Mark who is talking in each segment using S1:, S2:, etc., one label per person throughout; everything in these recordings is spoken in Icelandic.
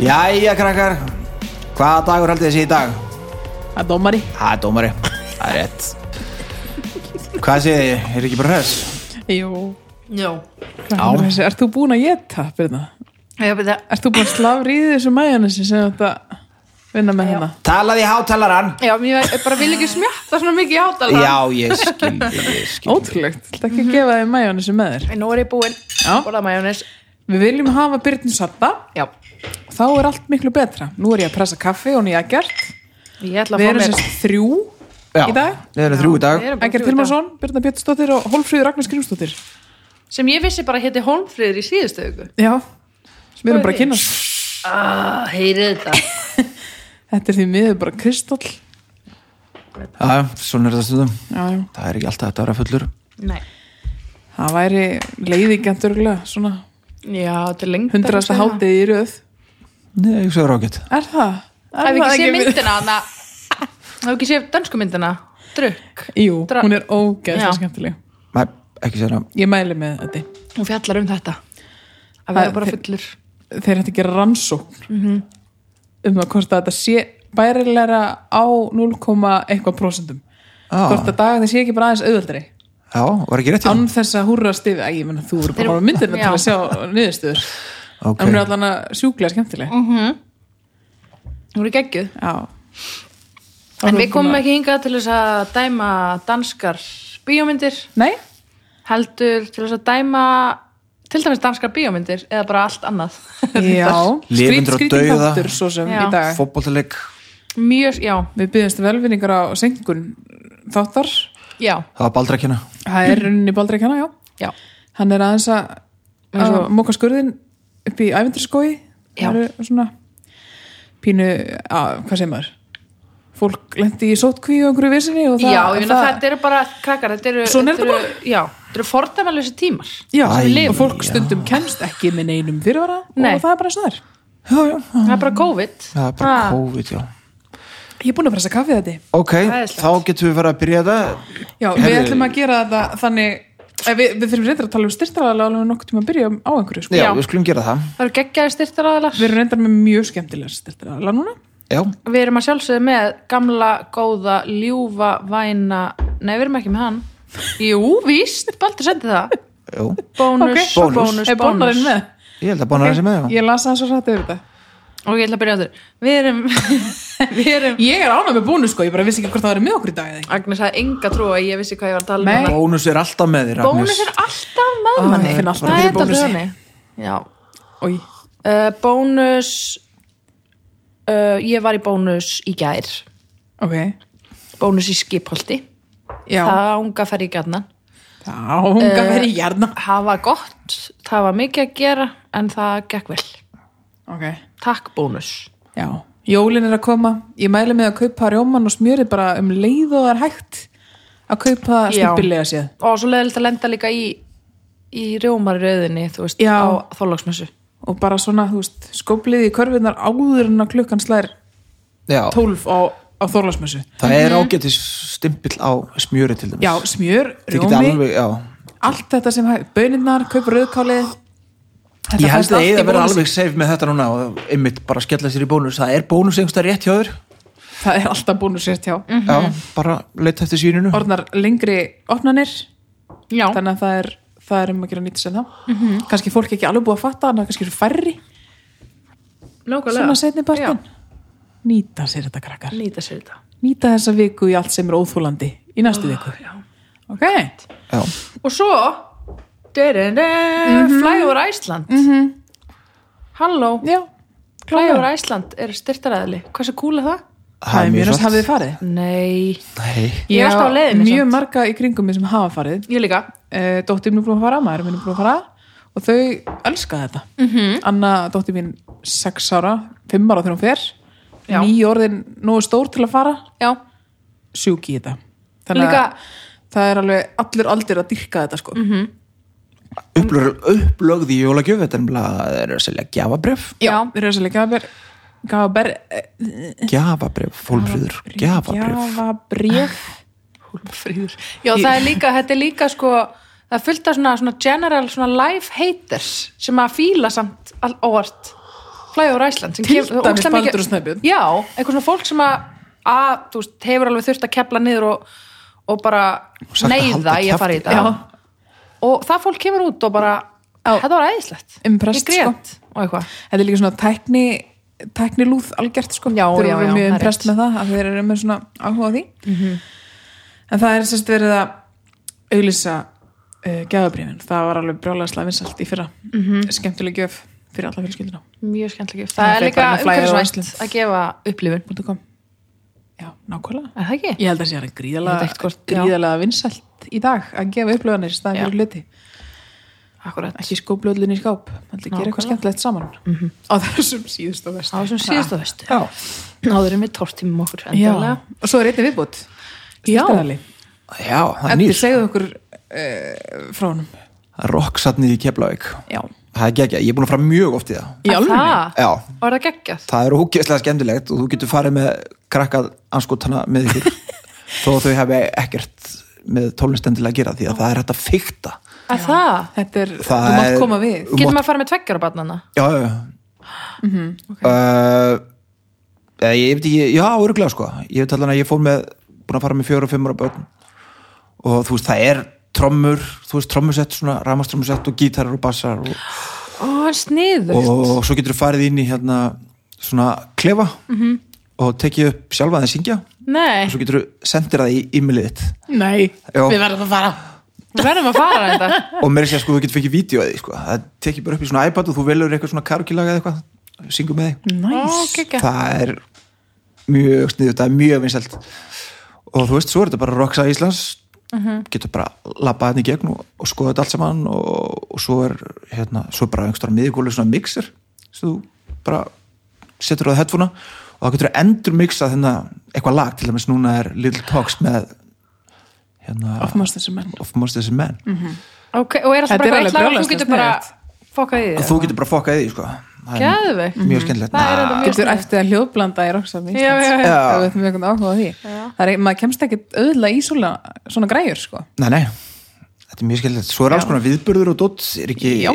S1: Jæja krakkar Hvaða dagur haldið þessi í dag?
S2: Það er dómari
S1: Það er dómari, það er rétt Hvað segið þið? Er ekki bara hress?
S2: Jú
S3: Já,
S2: Þessi, Ert þú búin að geta, Birna?
S3: ég byrja
S2: Ert þú búin að slafri í þessu mæjanesi sem þetta vinna með hérna?
S1: Talaði hátalaran
S3: Já, mér- ég bara vil ekki smjatta svona mikið átalega
S1: Já, ég skil, ég skil
S2: Ótrúlegt, þetta ekki að
S3: Mhm.
S2: gefa þið mæjanesi með þér
S3: Nú er ég búinn
S2: Já.
S3: Borðað majónis
S2: Við viljum hafa Birnu satta
S3: Já,
S2: þá er allt miklu betra Nú er ég að pressa kaffi og nýja gert
S3: ég ætla að
S2: Við
S3: fá
S2: erum
S3: mér
S2: sérst þrjú
S1: Já,
S2: í dag
S1: Við erum þrjú í dag
S3: Við erum bara
S2: Engert
S3: þrjú í dag.
S2: Hilmarsson, Birna Pétursdóttir og Hólfríður Ragnar Grímsdóttir
S3: Sem ég vissi bara héti Holmfríður í síðustu auku
S2: Já, við erum bara að kynast
S3: ah, Heyrið þetta
S2: Þetta er því miður bara kristall Já,
S1: Já, svona er þetta stundum
S2: já,
S1: Það er ekki alltaf þetta að vera fullur
S3: Nei
S2: það væri leiðingjant örgulega svona
S3: Já, þetta er lengt
S2: hundrasta hátið í röð
S1: Nei, ég svo er ágætt
S2: Er það? Er
S3: Það hef
S2: það
S3: ekki séð
S2: ekki-
S3: myndina Það hef ekki séð dansku myndina Drukk
S2: Jú,
S3: Dra-
S2: hún er ógeðslega
S3: Já.
S2: skemmtileg
S1: Nei, ekki sér það
S2: Ég mæli með þetta
S3: Hún fjallar um þetta Að
S2: Það-
S3: vera bara
S2: þeir-
S3: fullur
S2: Þeir hætti ekki rannsókn
S3: Mhm.
S2: um það hvort að þetta sé bærilega á 0, eitthvað prosentum
S1: Ah.
S2: hvort að dagar þessi ekki bara aðeins auðveldari
S1: Já, var ekki rétt hjá
S2: án þess að húrra stifi Æ, ég menna, þú eru bara
S3: Þeir-
S2: á myndina til
S3: Já.
S2: að sjá niðurstöður
S1: Ok.
S2: en hún er allan að sjúklega skemmtileg
S3: Mm. Hún er geggjuð
S2: Já Þá
S3: En
S2: erum
S3: við komum
S2: búin að-
S3: ekki hingað til þess að dæma danskar bíómyndir
S2: Nei,
S3: heldur til þess að dæma til dæmis danskar bíómyndir eða bara allt annað
S2: já
S1: Lifendur og
S2: Skrýt- skrýtinn
S1: dauða.
S2: þáttur, svo sem
S3: Já.
S2: í dag
S1: Fótboltaleik
S3: Mjög, já,
S2: Við byggjumst velvinningar á senkun þáttar
S3: já,
S1: Það var baldrakina
S2: Það er runni baldri að kenna, já
S3: já
S2: Hann er aðeins að, að móka skurðin upp í ævindurskói
S3: Já.
S2: Það eru svona pínu, að, hvað segir maður fólk lendi í sótkví og einhverju vissinni og það,
S3: Já, ég finna þetta eru bara krakkar, þetta eru
S2: Svona er þetta
S3: eru- Já, þetta eru fordæmalösi tímar
S2: já,
S1: Æ,
S2: og fólk
S1: já.
S2: stundum kemst ekki með neinum fyrirvara
S3: Nei.
S2: og það er bara eins og það er
S1: Já, já,
S2: Ah.
S3: Það er bara COVID Ah,
S1: það er bara
S3: Ha,
S1: COVID, já
S2: Ég Ah. er búin að pressa kaffið þetta
S1: Ok,
S3: Æðislegt.
S1: þá getum við verið að byrja þetta
S2: Já, við
S1: Herðu.
S2: ætlum að gera þetta þannig Eh, við, við þurfum reyndar að tala um styrtaralega alveg nokkuð tíma að byrja á einhverju sko.
S1: Já,
S3: Já.
S1: við skulum gera það
S3: Það eru geggjaði styrtaraðalar
S2: Við erum reyndar með mjög skemmtilega styrtaralega núna
S1: Já,
S3: Við erum að sjálfsögðu með gamla, góða, ljúfa, væna Nei, við erum ekki með hann Jú, víst, Baldur sendi það
S1: jú,
S2: Ok.
S3: Bónus, bónus,
S1: Bónus.
S3: bónus,
S2: Er bónarinn með?
S1: ég held að bóna þessi með já.
S2: Ég las það svo hrætt yfir þetta
S3: Og ég ætla að byrja á þér Við erum, við erum
S2: Ég er ánæg með bónus sko, ég bara vissi ekki hvort það verið með okkur í dag eða ekki.
S3: Agnes hafði enga trú að ég vissi hvað ég var að tala um
S2: Nei.
S3: hana.
S1: Bónus er alltaf með þér, Agnes
S3: Bónus er alltaf með
S2: Ó,
S3: manni
S2: ég finn alltaf
S3: Það
S2: fyrir
S3: er þetta
S2: bónusi.
S3: þannig. Já
S2: Ói,
S3: uh, Bónus uh, Ég var í bónus í gær
S2: ok,
S3: Bónus í skipholti
S2: já,
S3: Það unga fer í gætnan
S2: þá hunga uh, verið hjarna.
S3: Það var gott, það var mikið að gera En það gekk vel
S2: Ok,
S3: Takk bónus
S2: já, jólin er að koma, ég mæli mig að kaupa rjóman og smjörið bara um leið og það er hægt að kaupa
S3: Já.
S2: snippilega séð.
S3: Og svo leiðilegt að lenda líka í Í rjómarröðinni, þú veist
S2: Já.
S3: Á þólagsmessu
S2: Og bara svona, þú veist, skoplið í körfinar áður en að klukkan slær
S1: Já,
S2: 12 á, á þorlasmössu.
S1: það er ágætis stimpill á smjöri til dæmis
S2: Mhm. Já, smjör,
S1: Þið geta
S2: rjómi,
S1: alveg, já
S2: allt þetta sem hægt, bönirnar, kaupa rauðkálið. Þetta
S1: Ég held
S2: fæst
S1: að
S2: allt í
S1: eða vera
S2: bónus.
S1: alveg safe með þetta núna og einmitt bara skella sér í bónus Það er bónus einhverstað rétt hjá þér
S2: Það er alltaf bónus rétt hjá.
S1: Já, bara leita eftir síninu
S2: Orðnar lengri opnanir,
S3: Já, Mhm.
S2: þannig að það er, það er um að gera nýtt sem það mm kannski fólk ekki alveg búið að fatta þannig að kannski eru færri sem að setni partin nýta sér þetta krakkar
S3: Nýta sér þetta
S2: nýta þessa viku í allt sem er óþúlandi í næstu viku
S3: Ah, Já
S2: ok,
S1: Já,
S3: Og svo dyrinn, mm -hmm. Fly over Iceland Halló
S2: Mhm. já
S3: Fly
S2: klálega.
S3: over Iceland er styrtaræðli Hversu cool er það?
S2: það er mjög næst
S1: satt.
S2: hafið þið farið
S3: Nei,
S1: Nei,
S3: Ég er alltaf á
S2: á
S3: leiðinni
S2: mjög
S3: samt.
S2: marga í kringum mér sem hafa farið
S3: ég líka
S2: uh, dóttir mín er búin að fara, maður mín er búin að fara og þau elska þetta
S3: Mhm.
S2: -hmm. Anna dóttir mín 6 ára 5 ára þegar hún fer
S3: Já.
S2: 9 orðin nógu stór til að fara
S3: Já,
S2: sjúk í þetta
S3: Líka-
S2: að
S3: Mhm,
S2: það er alveg allir aldir að dyrka þetta sko.
S1: upplögð, upplögð í jólagjöf Þetta er nefnilega- það er að selja gjafabref
S3: Já.
S2: Röðsæli Gaber Gaber eh,
S1: Gjafabref, fólfríður, gjafabref
S2: Gafabref
S3: Hólmfríður Já, það er líka, þetta er líka sko Það er fullt af svona, svona general svona life haters sem að fíla samt all, óvart flæði úr Æsland sem
S2: Til
S3: kemur-
S2: dæmis
S3: ógeðslega mikið-
S2: Baldur og Snæbjörn.
S3: Já, eitthvað svona fólk sem að, að þú veist, hefur alveg þurft að kepla niður og, og bara
S1: sagt að
S3: neyða
S1: halda
S3: í að fara í
S1: kjafti.
S3: þetta og það fólk kemur út og bara þetta var æðislegt,
S2: Impressed, sko.
S3: ég grét og eitthvað
S2: Þetta er líka svona tækni tækni lúð algjört sko
S3: Já,
S2: þeir eru
S3: já, já, það
S2: mjög
S3: er
S2: imprest
S3: rétt. Mhm.
S2: með það að þeir eru með svona áhuga á því en það er sérst verið að auglýsa uh, gæðabrífin það var alveg brjálega slæfinsalt í fyrra
S3: Mhm.
S2: skemmtileg gjöf fyrir alla fjölskyldina
S3: mjög skemmtileg gjöf,
S2: Það
S3: það er
S2: fer
S3: líka
S2: bara með flæði og
S3: umhverfisvænt
S2: Iceland.
S3: að gefa upplifun,
S2: Bútu kom Já, nákvæmlega
S3: er það ekki?
S2: Ég held að sé hann
S3: Ég
S2: gríðalega,
S3: veit ekkert hvort- já.
S2: gríðalega vinsalt í dag að gefa upplöðanir í staðan
S3: Já.
S2: fyrir hluti
S3: Akkurat,
S2: ekki skóplöðlun í skáp heldur gera
S3: Nákvæmlega. Mhm.
S2: eitthvað skemmtilegt saman á þessum síðust og vestu
S3: á þessum síðustu vestu
S2: Já,
S3: náðurum við tortímum okkur
S2: já.
S3: endalega
S2: og svo er einnig viðbútt
S3: Já.
S1: Já, það er
S2: Eddi
S1: nýr
S2: segðu okkur uh, frá honum
S1: Rocksatnið í Keflavík
S2: Já,
S1: Það er geggjað, ég er búin að fara mjög oft í það
S2: Í
S3: Er
S2: alvöru?
S3: það?
S1: Já,
S3: og er það geggjað?
S1: það er ógeðslega skemmtilegt og þú getur farið með krakkað anskotana með þér þó að þau hefði ekkert með tólustendilega að gera því að það er hægt að fykta
S3: Er það?
S2: þetta er,
S1: Það
S2: þú mátt
S1: er-
S2: koma við
S1: Þú
S3: Getur
S1: mátt-
S3: maður að fara með tveggjara barnana?
S1: Já, já, já uh, eða, eh, Ég veit ekki, já, örgulega sko Ég veit allan að ég fór með, búin að fara með fjögur og fimmur á börn og þú veist, það er trommur, þú veist, trommusett svona, ramastrommusett og gítarar og bassar og,
S3: Ó, hann sniður
S1: og, svo getur þú farið inn í hérna svona klefa -hmm. og tekið upp sjálfa að syngja
S3: Nei,
S1: og svo getur þú sendir það í e-mailið þitt
S2: Nei,
S1: Já.
S2: við verðum að fara
S3: við verðum að fara þetta
S1: og meira sér sko þú getur fengið vídeo að því sko. það tekið bara upp í svona iPad og þú velur eitthvað svona karukilaga eða eitthvað syngum með þig
S2: Næs,
S3: Ó, það...
S1: það er mjög sniðut, það er mjög vinsælt og þú veist, svo er þetta bara Roxa Íslands getur bara labbað hérna í gegn og, og skoða þetta allt saman og, og svo er hérna, svo er bara einhverstara miðgólu svona mixer sem þú bara setur á það headfona og það getur endur mixa þennan eitthvað lag, til dæmis núna er Little Talks með hérna,
S2: of most þessi menn
S1: of Monsters and Men
S3: Ok, og er
S2: Þetta
S3: alltaf
S2: er
S3: bara eitthvað
S2: alveg
S3: eitt
S2: brjálast,
S3: lag og þú
S2: það
S3: getur
S2: er
S3: bara
S2: sniðugt.
S3: fokkað í
S1: og
S3: því
S1: þú getur bara fokkað í því sko. Það er
S3: Geðveikt. Mhm.
S1: mjög skemmtilegt
S3: Það er
S1: Næ,
S3: enda mjög
S2: Getur eftir að hljóðblanda í roksafn í
S3: Já, já, já.
S2: Ef við ætlum eitthvað áhuga á því Það er, maður kemst ekkit auðvitað í svona, svona græjur sko.
S1: nei, nei, þetta er mjög skemmtilegt svo er alls konar viðburður og dott er ekki
S2: Já.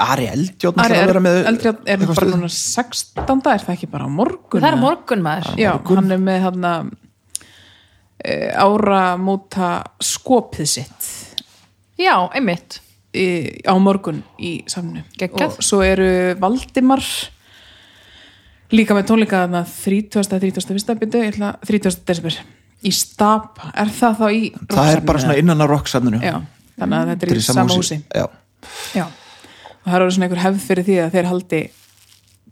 S1: Ari Eldjón
S2: Ari er,
S1: er,
S2: eldri, er
S1: eitthvað
S2: bara
S1: stuð.
S2: núna 16. er það ekki bara á morgun?
S3: Það er
S2: eða?
S3: morgun maður
S2: Já, hann er með hann áramóta skopið sitt
S3: Já, einmitt
S2: í, á morgun í samnu
S3: Geggjað.
S2: og svo eru Valdimar líka með tónleika þarna 30. 31. byrju, ég ætla 30. desember í stab, er það þá í
S1: það er bara svona
S2: rocksafninu?
S1: innan á rocksafninu
S2: já, þannig að þetta
S1: Þetta
S2: er í sama húsi
S1: já.
S2: já, og það eru svona einhver hefð fyrir því að þeir haldi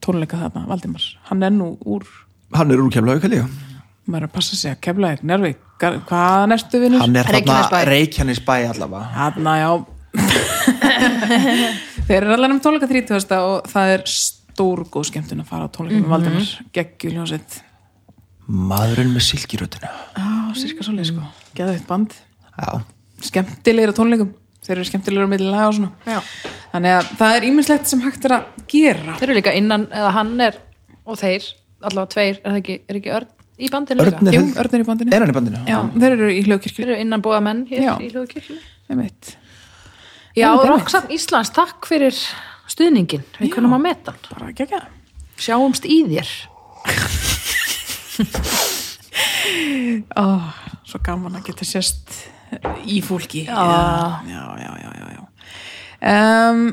S2: tónleika þarna, Valdimar hann er nú úr,
S1: hann er úr kemlaug held ég
S2: maður er að passa sig að kemla ekki nervi, hvaðan ertu vinnur?
S1: hann er
S3: Reykjanesbæ.
S1: þarna Reykjanesbæ allavega
S2: Hanna, já Þeir eru allan um tónleika 30. og það er stór góð skemmtun að fara á tónleika með Valdimar geggjul hljónsett
S1: maðurinn með silkirötinu
S2: á sirka svolítið sko, geða eitt band
S1: já,
S2: skemmtilegir á tónleikum þeir eru skemmtilegir á milli laga og svona
S3: Já.
S2: þannig að það er ímislegt sem hægt er að gera
S3: Þeir eru líka innan, eða hann er og þeir, allavega tveir er, það ekki, er ekki örn í bandinu líka?
S1: Örn er-
S2: Jú, Örn er í bandinu
S1: er hann í bandinu?
S2: Já, þeir eru í
S3: Þeir
S2: hljóðkirkju
S3: eru innan búða menn hér
S2: Já.
S3: í hljóðkirkjunni
S2: einmitt.
S3: Já,
S2: Einmitt, einmitt.
S3: Rokksamt Íslands, takk fyrir stuðningin Við
S2: Já.
S3: kunnum að meta hann
S2: bara geggja
S3: Sjáumst í þér
S2: oh, svo gaman að geta sérst í fólki
S3: Já.
S2: já, já, já, já, já. Um,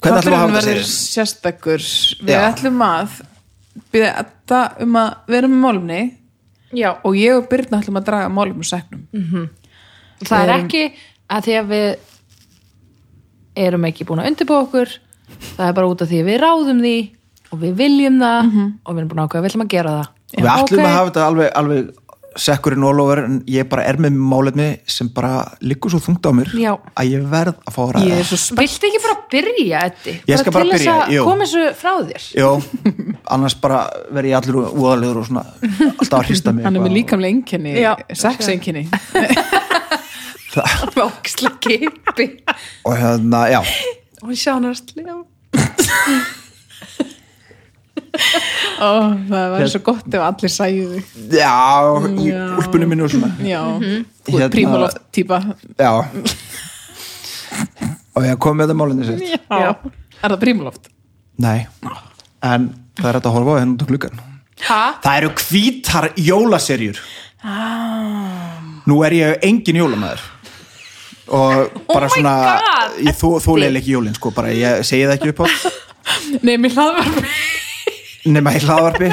S1: Hvernig ætlum við að hafa þetta,
S2: verður
S1: segirðu?
S2: sérstakur við
S1: Já.
S2: ætlum að byrja þetta um að vera með málumni
S3: Já,
S2: og ég og Byrna ætlum að draga málum úr sæknum Við
S3: það er
S2: erum-
S3: ekki að því að við erum ekki búin að undirbúa okkur það er bara út af því að við ráðum því og við viljum það og við erum búin að ákveða að við ætlum að gera það
S1: við ætlum
S3: Ok.
S1: að hafa þetta alveg, alveg sekkurinn all over en ég bara er með málefni sem bara liggur svo þungt á mér
S3: Já.
S1: að ég verð að fá að ræða
S2: ég er svo
S3: Viltu ekki bara byrja, Eddi?
S1: Ég skal bara
S3: til þess
S1: byrja,
S3: að
S1: jú.
S3: koma þessu frá þér
S1: Jó, annars bara verð ég allur úðalegur og svona alltaf að hrista mig
S2: hann er með
S1: eitthvað.
S2: líkamlega einkenni
S3: Já.
S2: sexeinkenni
S3: Bóksla kipi
S1: og hérna, já,
S3: og sjánast
S2: oh, það var svo gott ef allir sæju þig
S1: já í úlpunum mínu og svona
S2: já, þú
S1: Hérna-
S2: er prímaloft típa
S1: já og ég kom með þetta málinu sitt
S2: er það prímaloft?
S1: nei, en það er hægt að horfa á henni út á gluggan
S2: ha?
S1: það eru hvítar jólaserjur
S2: Ah.
S1: nú er ég engin jólamæður og bara
S3: my
S1: svona
S3: God,
S1: ég þó, þólega ekki jólin sko, bara ég segi það ekki upp á
S2: Nei, mér hlaðvarp
S1: nema í hlaðvarpi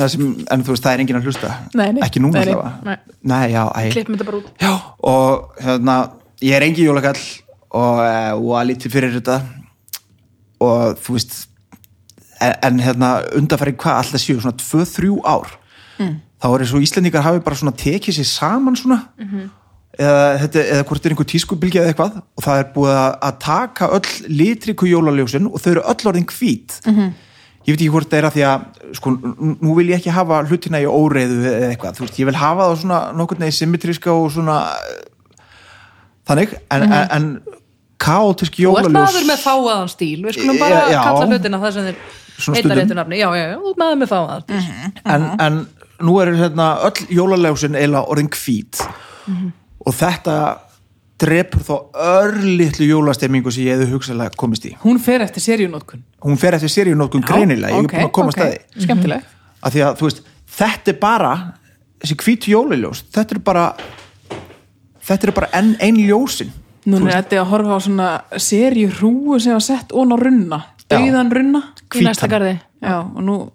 S1: Það sem, en þú veist, það er engin að hlusta
S2: Nei, nei.
S1: ekki núna
S2: Nei, nei.
S1: allavega
S2: Nei.
S1: nei, já, æ,
S3: klippum þetta bara út
S1: já, og hérna, ég er engin jólakall og, eh, og að lítið fyrir þetta og þú veist en, en hérna, undanfæri hvað alltaf séu svona 2-3 ár
S3: Mm.
S1: þá er eins og Íslendingar hafi bara svona tekið sér saman svona
S3: Mhm.
S1: eða, þetta, eða hvort er einhver tískubilgi eða eitthvað og það er búið að, að taka öll litriku jólaljósin og þau eru öll orðin hvít
S3: Mhm.
S1: -hmm. ég veit ekki hvort það er að því að sko, nú- nú vil ég ekki hafa hlutina í óreiðu eða eitthvað, þú veist, ég vil hafa það svona nokkurn veginn symmetriska og svona þannig, en, en, en kaotisk
S3: Mhm. Þú ert
S1: jólaljós
S3: maður með fáaðan stíl, við skulum bara
S1: Já, já.
S3: kalla hlutina það sem
S1: Svona
S3: þeir heita
S1: stundum.
S3: réttu nafni, já, já, já, þú ert maður með fáaðan stíl
S1: en, en nú er hérna, öll jólaljósin eiginlega orðin hvít og þetta drepur þá örlitlu jólastemmingu sem ég hefði hugsaðlega komist í
S2: Hún fer eftir serjunótkun
S1: hún fer eftir seríunótkun greinilega ég er búin að koma okay. staði
S2: Skemmtileg
S1: af því að þú veist, þetta er bara þessi hvítu jólaljós þetta er bara þetta er bara enn ein ljósin
S2: Núna er þetta að horfa á svona serjurúu sem var sett ón á runna
S1: Já.
S2: Dauðan runna
S3: Í næsta garði
S2: Já, og nú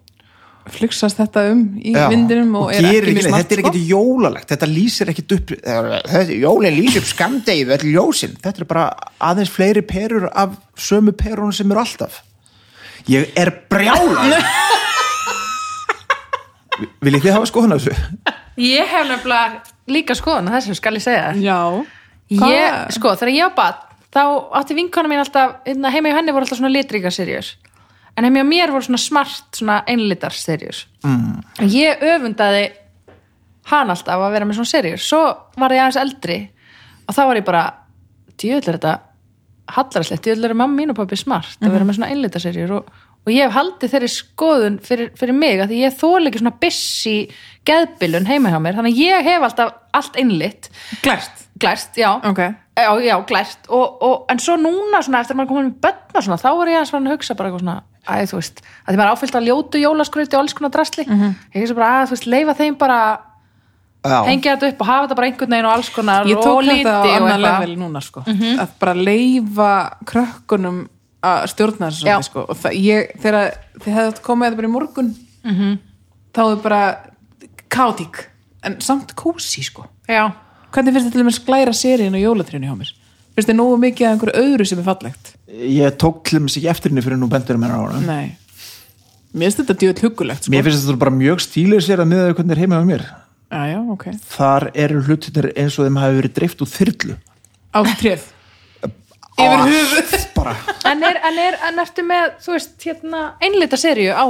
S2: flugsast þetta um í
S1: Já,
S2: vindinum og, er
S1: gerir
S2: ekki mjög
S1: ekki,
S2: smart
S1: þetta er
S2: sko.
S1: ekkit jólalegt, þetta lýsir ekkit upp þetta, jólin lýsir upp skamdegið öll ljósin, þetta er bara aðeins fleiri perur af sömu perunum sem eru alltaf ég er brjála vil ég þið hafa skoðan af þessu?
S3: Ég hef nefnilega líka skoðan að þessu skal ég segja þér.
S2: Já,
S3: ég,
S2: Hvað?
S3: Sko, þegar ég var bann þá átti vinkona mín alltaf hérna, heima hjá henni voru alltaf svona litríka serjur en heima hjá mér voru svona smart svona einlitar serjur mm. ég öfundaði hann alltaf að vera með svona serjur svo var ég aðeins eldri og þá var ég bara djöðlega þetta hallarslegt, djöðlega mamma mín og pappi smart að vera með svona einlitar serjur og, og ég hef haldið þeirri skoðun fyrir, fyrir mig að því ég þóla ekki svona busy geðbillun heima hjá mér þannig að ég hef alltaf allt einlitt
S2: glært
S3: glært, já
S2: Ok,
S3: Já, já, glært og, og, en svo núna, svona, eftir að maður komið með bönna svona, þá er ég aðeins farin að hugsa bara eitthvað svona að þú veist, að því maður er áfyllt að ljótu jólaskröyti og alls konar drasli,
S2: Mhm.
S3: ég hugsa bara að þú veist, leifa þeim bara,
S1: Já,
S3: hengja þetta upp og hafa þetta bara einhvern veginn og alls konar
S2: ég tók
S3: og liti
S2: þetta á
S3: og
S2: annar
S3: eitthvað. Mhm.
S2: level núna sko að bara leifa krökkunum að stjórna þessu
S3: Já.
S2: svolítið, sko. og það, ég, þegar þið hefðu komið þetta bara í morgun
S3: Mhm.
S2: þá er bara kátík en samt kósi sko
S3: Já,
S2: Hvernig finnst þetta til að sklæra seríinu og jólatrýnu hjá mér? Finnst þið nógu mikið að einhverju öðru sem er fallegt?
S1: ég tók til þess ekki eftir henni fyrir nú bendur mér á hana
S2: Nei Mér finnst þetta djúið huggulegt sko.
S1: mér finnst þetta bara mjög stílið sér að miða við hvernig er heima á mér
S2: Já, já, ok
S1: þar eru hlutinir eins og þeim hafi verið dreift úr þyrlu
S2: Á tréð Yfir höfuð
S1: bara
S3: en er, en er, en ertu með, þú veist, hérna, einlita serju á,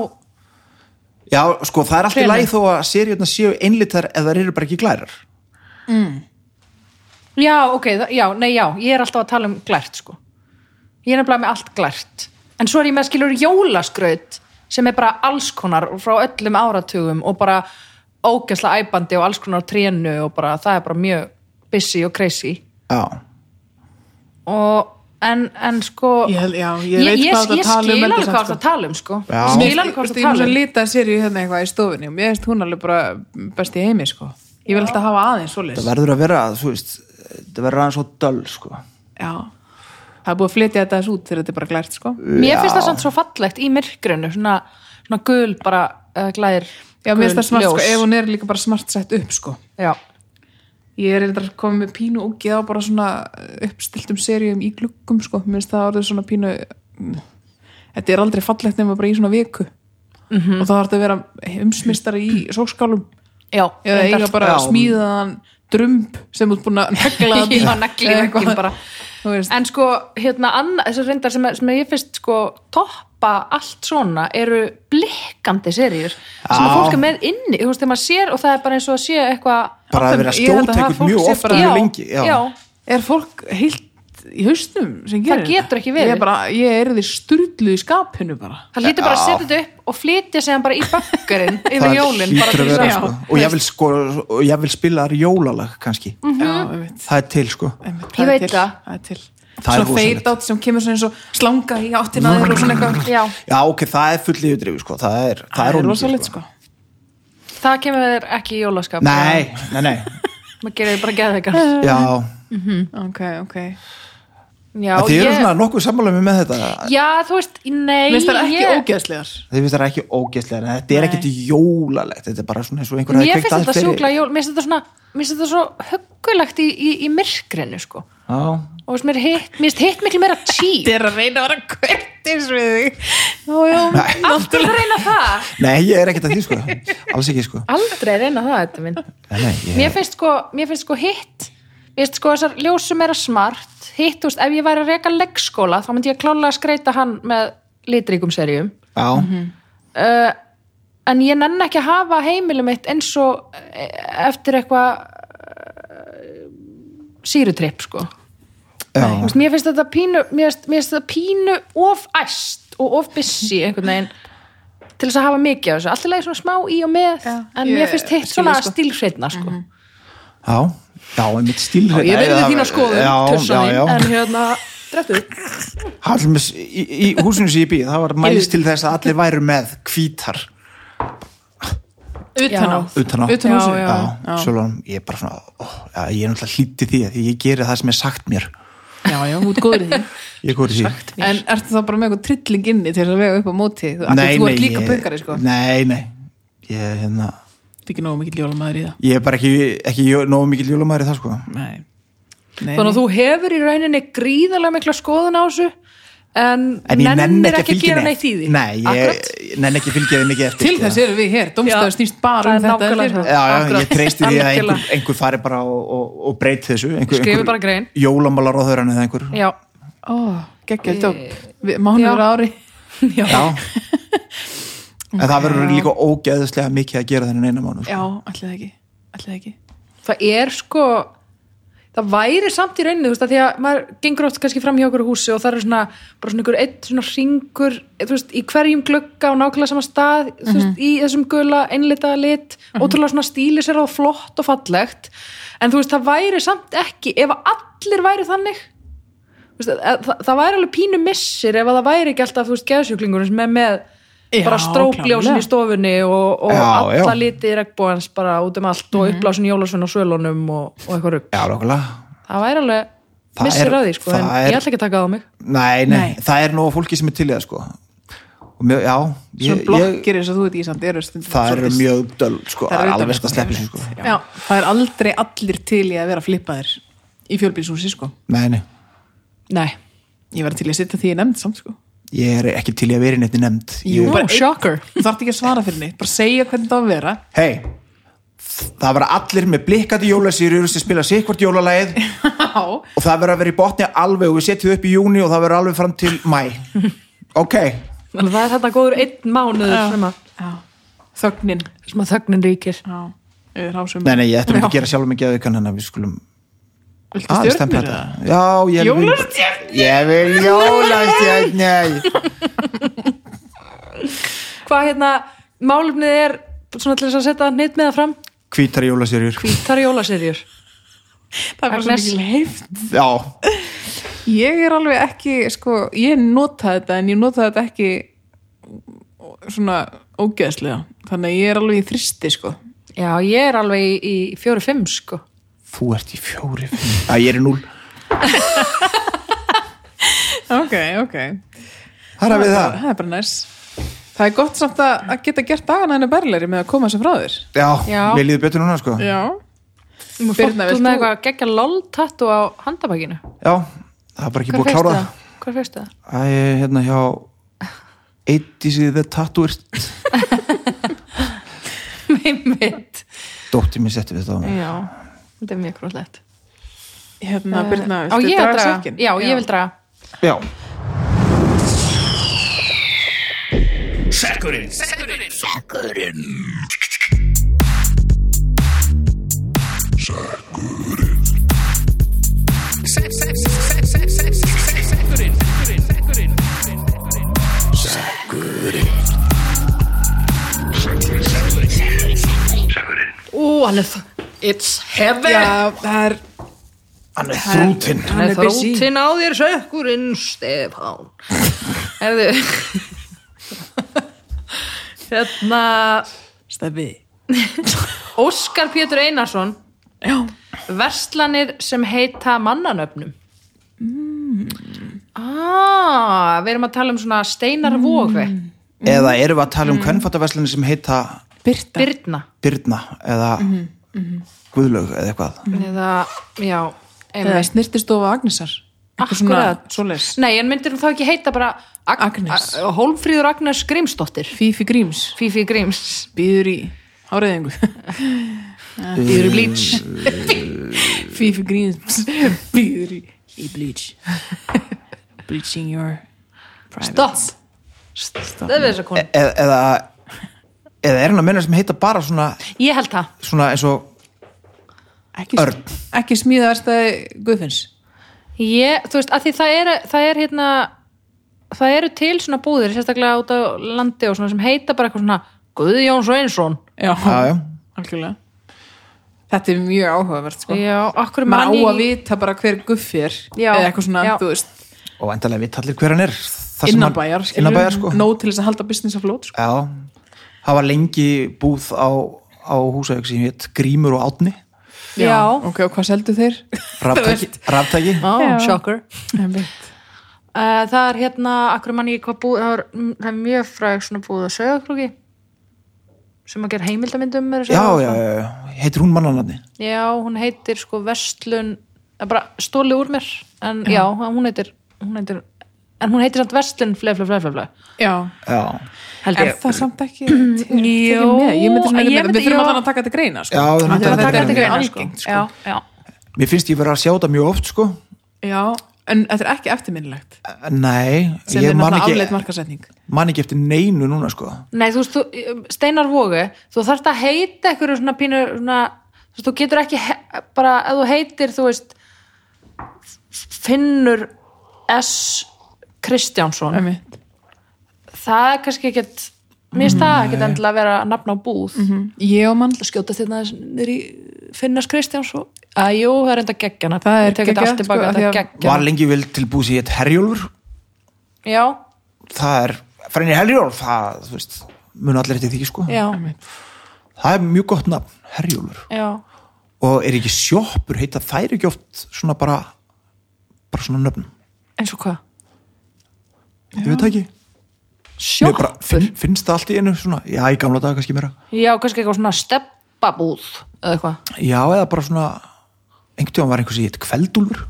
S1: Já, sko, það er alltaf
S3: Hvenær?
S1: læg þó að seríurnar séu einlitar ef þær eru bara ekki glærar.
S3: já, ok, það, já, nei, já, ég er alltaf að tala um glært, sko. Ég er nefnilega með allt glært, en svo er ég með skilur jólaskröyti sem er bara alls konar og frá öllum áratugum og bara ógæsla æbandi og alls konar á trénu og bara það er bara mjög busy og crazy
S1: Já.
S3: og en, en sko
S2: Ég held- já, ég veit hvað þú ert að
S3: ég
S2: tala um,
S3: skil alveg
S2: Eldur,
S3: hvað
S2: sko.
S3: það tala um sko
S1: Já.
S3: Ég skil
S2: Þú
S3: alveg hvað
S2: veist, ég mér
S3: það tala
S2: svo
S3: um
S2: lita seríu hérna eitthvað í stofunni og mér finnst hún alveg bara best í heimi sko Ég vil alltaf hafa aðeins
S1: Það
S2: svoleiðis
S1: verður að vera, þú veist, það verður aðeins svo döl, sko.
S2: Já Það er búið að flytja þetta þessu út þegar þetta er bara glært sko
S3: mér finnst það
S1: Já.
S3: samt svo fallegt í myrkrinu svona, svona gul bara uh, glæðir
S2: Já, mér finnst það smart sko, ef hún er líka bara smart sett upp sko
S3: já,
S2: Ég er eitthvað komið með pínu ógið á bara svona uppstiltum seríum í gluggum sko, minnst það orðið svona pínu mm, þetta er aldrei fallegt nema bara í svona viku -hmm. og það þarf þetta að vera umsmistari í sókskálum
S3: já,
S2: eða
S3: reyndar.
S2: eiga bara
S1: Já.
S2: smíðaðan drömb sem þú ert búin að negla þarna í.
S3: Já, negli í
S2: Eða
S3: vegginn
S2: eitthvað.
S3: bara.
S2: Þú veist,
S3: en sko, hérna, anna, þessar reyndar sem, sem ég finnst sko toppa allt svona eru blikkandi seríur sem að
S1: Já.
S3: fólk er með inni, þú veist, þegar maður sér og það er bara eins og að sé eitthvað
S1: Bara
S2: Alltaf-
S1: að vera
S2: ég held að
S1: skjóta
S2: það
S1: ykkur
S2: fólk
S1: mjög
S2: sé
S1: oft og
S2: bara-
S1: mjög lengi. Já,
S3: já,
S2: er fólk heilt í haustum sem gerir
S3: getur
S2: þetta?
S3: ekki verið.
S2: ég er, bara, ég er því sturluð í skapinu bara
S3: það lítur bara að
S1: Já.
S3: setja þetta upp og flytja sig hann bara í bakkarinn yfir
S1: það
S3: jólinn bara
S1: hlýtur
S3: til
S1: að
S3: þess
S1: vera,
S3: að-
S1: sko.
S3: Já.
S1: Og ég vil, sko, og ég vil spila þar jólalag, kannski.
S3: Mm.
S2: já, einmitt,
S1: Það er til, sko.
S2: einmitt,
S3: Mhm. Ég
S2: það er
S3: veit
S2: til,
S3: það.
S2: það er til
S1: Það er
S2: svona
S1: rosalegt. Mm.
S2: feit átt sem kemur svona eins og slanga í áttina að þér og svona eitthvað
S3: já,
S1: já ok, það er full yfirdrifið sko. það er, það er ónýtt,
S2: rosalegt sko
S3: það kemur þér ekki í jólaskap
S1: nei, nei, nei,
S3: maður gerir þér bara geðveikar
S1: já
S2: ok, ok
S3: já,
S1: þið eru
S3: ég,
S1: svona nokkuð sammála með þetta
S3: já, þú veist, nei
S2: Mér finnst það ekki
S3: ég-
S2: ógeðslegar
S1: þið finnst það ekki ógeðslega en þetta er
S2: Nei.
S1: ekkert jólalegt þetta er bara svona eins og einhver
S3: mér
S1: hafi kveikt
S3: finnst þetta
S1: að fyrir.
S3: sjúkla jól mér finnst þetta svona mér finnst þetta svo höggulegt í, í, í myrkrinu sko
S1: já,
S3: og þú veist, mér hitt, mér finnst hitt miklu meira cheap
S2: Þetta er að reyna að vera kvertis við þig Ó, já,
S1: Nei.
S3: aldrei reyna það
S1: Nei, ég er ekkert að því sko Alls ekki sko
S3: aldrei reyna það þetta minn
S1: Nei, nei,
S3: mér
S1: ég,
S3: finnst sko, mér finnst sko hitt mér finnst sko þessar ljósum er að smart hitt, þú veist, ef ég væri að reka leggskóla þá myndi ég klálega að skreita hann með litríkum serjum
S1: já,
S2: Mhm.
S3: uh, en ég nenn ekki að hafa heimilum mitt eins og eh, eftir eitthvað eh, sýrutripp sko
S1: já,
S3: Þú veist, mér finnst þetta pínu mér finnst, mér finnst þetta pínu of æst og of busy einhvern veginn til þess að hafa mikið af þessu, alltaf leið svona smá í og með
S2: Já,
S3: en
S2: ég
S3: mér finnst hitt
S2: skil
S3: svona
S2: það, sko.
S3: stílhreitna sko.
S1: já Já, ég mitt stíl
S2: Já, ég veit
S1: Mhm. Nei,
S2: það
S1: það-
S2: þína skoðun,
S1: Já,
S2: tussan
S1: já,
S2: þín, en
S1: já
S2: hérna, dreftu
S1: Hallmis, í, í húsinu sem ég býð Það var mælist til þess að allir væru með hvítar
S2: Utan á
S1: Utan á
S2: Utan á
S1: já,
S2: húsinu.
S1: já, já. Sjálfum, ég er bara svona ó, já, Ég er náttúrulega hlítið því að því ég geri það sem er sagt mér
S2: Já, já, út góður í því
S1: Ég góri því
S2: En ertu þá bara með eitthvað trilling inni til þess að vega upp á móti Þú af því þú ert líka
S1: ég-
S2: pöngari, sko
S1: Nei, nei Ég, hérna,
S2: Þetta er ekki nógu mikill jólamæður í það
S1: ég er bara ekki, ekki jó- nógu mikil jólamæri það sko
S2: Nei, Nei.
S3: þannig að þú hefur í rauninni gríðarlega mikla skoðun á þessu en,
S1: En ég nenni
S3: nennir
S1: ekki að
S3: ekki að
S1: fylgja
S3: gera
S1: neitt
S3: neitt í því
S1: Nei, ég,
S3: Akkurat.
S1: ég nenni ekki að fylgja þeim mikið eftir
S2: Til
S1: sko.
S2: þess eru við hér,
S3: Já.
S2: domstæðu snýst bara um
S3: Það er
S2: þetta
S3: nákvæmlega
S2: hér.
S3: það.
S1: Já, já,
S3: Akkurat.
S1: ég treysti því að
S3: Algjörlega.
S1: einhver, einhver fari bara og, og, og breyti þessu einhver,
S3: Skrifi bara grein.
S1: Jólamálar á þörðan eða einhver
S3: Já,
S2: Ó, geggjald djók Mánuður
S3: Já.
S2: ári
S3: já.
S1: En það verður líka ógeðslega mikið að gera þennan eina mánu sko.
S2: Já, allir það ekki Allir það ekki
S3: það er sko það væri samt í rauninni þú veist að því að maður gengur oft kannski fram hjá okkur húsi og það eru svona bara svona ykkur eitt svona ringur þú veist í hverjum glugga á nákvæmlega sama stað þú veist í þessum gula einlitaða lit ótrúlega svona stíli sér á flott og fallegt en þú veist það væri samt ekki ef að allir væri þannig þú veist, að, það, það væri alveg pínu missir ef að það væri ekki alltaf þú veist geðsjúklingurinn sem er með
S2: Já,
S3: bara strókljósin
S2: klárlega.
S3: í stofunni og, og
S1: Já, já.
S3: alla liti regnbóðans bara út um allt og uppblásin jólasvinn á sölunum og, og eitthvað rugg.
S1: Já, lókulega
S3: Það væri alveg
S1: Það
S3: missir
S1: er-
S3: á því, sko, en
S1: það er-
S3: ég ætla ekki að taka það á mig.
S1: nei, nei,
S2: Nei.
S1: það er nóg fólki sem er til í það sko. Og mjög, já
S2: Svona
S1: ég, ég,
S2: blokkir eins og þú ert í samt eru stundum
S1: Það eru
S2: svolítið-
S1: mjög döl sko,
S2: Það
S1: Það
S2: eru
S1: er
S2: döl,
S1: alveg
S2: sko,
S1: að sleppi
S2: það
S1: sig
S2: er
S1: sko.
S2: Já. það er aldrei allir til í að vera flippaðir í fjölbýlshúsi sko
S1: Nei, nei,
S3: Nei.
S2: ég verði til í að sitta því ég nefnd samt sko
S1: ég er ekki til í að vera í neitt nefnd
S2: Jú,
S1: Ég-
S2: bara einn-
S3: shocker.
S2: þú þarf ekki að svara fyrir neitt, bara segja hvernig það á að vera
S1: Hei, það verða allir með blikkandi jólasýrur sem spila sig hvort jólalæð
S2: Já,
S1: og það verður að vera í botni alveg og við setjum upp í júni og það verður alveg fram til mæ ok,
S3: Þannig að það er þetta góður einn mánuður
S2: Já.
S3: sem að,
S2: Já. þögnin
S3: sem að þögnin ríkir.
S2: Já, yfir hásum
S1: nei nei, ég ætlum ekki að
S2: Já.
S1: gera sjálf mikið að aukan hennar, við skulum
S2: Viltu
S1: aðeins
S2: stjörnur
S1: tempra
S2: eða?
S1: þetta já, ég
S2: Jólastjörnur!
S1: vil ég vil jólastjörnur
S3: Hvað hérna, málumnið er svona til þess að setja neitt með það fram?
S1: hvítar jólasýrur,
S3: Hvítar jólaserjur.
S2: Það er bara svo
S3: Agnes.
S2: mikil heift
S1: já
S2: Ég er alveg ekki, sko, ég nota þetta en ég nota þetta ekki svona ógeðslega þannig að ég er alveg í þristi, sko
S3: Já, ég er alveg í, í fjóri-fimm, sko.
S1: þú ert í fjóri, fimm, að ég er í núl
S2: Ok, ok
S1: þar er við
S2: bara-
S1: það,
S2: Það er bara næs Það er gott samt að, að geta gert dagana henni berleiri með að koma sér frá þér
S1: já,
S3: Já.
S1: mér líður betur núna sko
S2: Já Birna,
S3: Birna,
S2: vilt
S3: Þú með
S2: þú-
S3: eitthvað geggja lol-tattu á handabakinu.
S1: já, það er bara ekki
S3: Hvar
S1: búið að klára
S3: fegstu
S1: það
S3: það? Hvar fegstu það?
S1: Æ, hérna hjá Eittísið the Tattooist
S3: Einmitt.
S1: Dóttir minn setti við þetta á mig
S3: Já, þetta er mjög gróðlegt.
S2: Hérna, Birna,
S3: Eh, á
S2: viltu
S3: ég að
S2: draga
S3: draga?
S2: sekkin?
S3: Já, ég vil draga.
S1: Já,
S3: Ú, hann er það. It's heaven.
S2: Já, það er
S1: hann er þrútinn
S2: Hann er busy.
S3: þróttinn á þér sökkurinn Stefán Herðu Hérna
S2: Steffi
S3: Óskar Pétur Einarsson
S2: Já,
S3: Verslanir sem heita mannanöfnum
S2: Mm.
S3: Ah, við erum að tala um svona steinar
S2: Mm,
S3: vófi
S1: eða erum við að tala um mm. sem heita
S2: Birta
S3: Birna
S1: Birna eða
S2: Mhm,
S1: Guðlaug eða eitthvað
S3: eða, já, einmitt
S2: eða snirtistofa Agnesar Eitthvað
S3: Akkurat.
S2: svoleiðis.
S3: Nei, en myndir hún þá ekki heita bara Ag
S2: Agnes.
S3: A- Hólmfríður Agnes Grímsdóttir
S2: Fifi Gríms
S3: Fifi Gríms
S2: býður í háræðingu
S3: Býður í blíts
S2: Fifi Gríms býður í í bleach bleaching your private
S3: Stopp Það er þess að konu
S1: eða, E, eða, eða er hann að menna sem heita bara svona,
S3: Ég held það
S1: svona eins og
S2: ekki,
S1: Örn.
S2: ekki smíðaverstaði Guðfinns
S3: Ég, þú veist, að því það eru það er hérna það eru til svona búðir, sérstaklega út á landi og svona sem heita bara eitthvað svona Guðjón Sveinsson
S2: já,
S1: já, já.
S2: algjörlega þetta er mjög áhugavert sko.
S3: Já, akkur
S2: maður á
S3: manni
S2: að vita bara hver Guff er
S3: Já,
S2: eða eitthvað svona,
S3: já.
S2: þú veist,
S1: og endalega við tallir hver hann er Það sem hann-
S2: innanbæjar skilurðu,
S1: innanbæjar sko
S2: nóg til þess að halda business af flót sko.
S1: já, það var lengi búð á, á húsauk sem hétt Grímur og Átni
S3: Já,
S2: ok, og hvað seldu þeir?
S1: raftæki, raftæki.
S3: Ó,
S2: Já.
S3: shocker
S2: Einmitt.
S3: Uh, það er hérna, akkur manni ekki hvað búð, það er, mm, það er mjög fræg svona búð á sögakróki sem að gera heimildamyndum meira að segja.
S1: já, já, já, já, heitir hún mannanatni
S3: Já, hún heitir sko Vestlun, það er bara stóli úr mér, en já, hún heitir, hún heitir, en hún heitir samt Vestlun fle, fle, fle, fle, fle,
S2: já,
S1: já,
S3: held
S2: er
S3: ég.
S2: það samt ekki til- tekið með, ég myndi svona
S3: ég myndi-
S2: við þurfum
S3: já.
S2: alltaf að taka þetta greina sko.
S1: Já, við þurfum að
S2: Af því
S1: taka
S2: að
S1: þetta
S2: þetta
S1: er
S2: er
S1: til
S2: greina
S3: sko.
S2: algengt sko.
S3: Já, já.
S1: mér finnst ég vera að sjá það mjög oft sko
S2: já, en þetta er ekki eftirminnilegt
S1: nei,
S2: sem
S1: ég
S2: er
S1: man
S2: náttúrulega afleitt
S1: ekki,
S2: markasetning
S1: man ekki eftir neinu núna sko
S3: Nei, þú veist, þú, um, steinar vogu, þú þarft að heita eitthvað svona pínur, svona, þú veist, þú getur ekki, he- bara, ef þú heitir, þú veist, Finnur S. Kristjánsson,
S2: Einmitt. Mm.
S3: það er kannski ekkert mér finnst það ekkert endilega að vera nafn á búð
S2: ég og mann,
S3: skjóta þérna aðeins niður í Finnars Kristjáns og að jú, það er enda geggjana
S2: Það er
S3: Ég tek þetta
S2: geggjað,
S3: allt tilbaka,
S2: sko,
S3: það er
S2: af því
S1: var
S2: að-
S3: geggjana
S1: lengi vel til búð sem hétt Herjólfur
S3: já,
S1: það er, frænir Herjólf það, þú veist, mun allir eftir því sko
S3: já,
S1: það er mjög gott nafn, Herjólfur
S3: já
S1: og er ekki sjoppur heita þær ekki oft svona bara bara svona nöfnum,
S3: eins og hvað?
S1: ég veit það ekki Mér bara,
S3: Sjoppur?
S1: finn, finnst það allt í einu svona, já í gamla daga kannski meira
S3: Já, kannski eitthvað svona steppabúð eða eitthvað
S1: já eða bara svona einhvern tíðan var einhvers í eitt kveldúlfur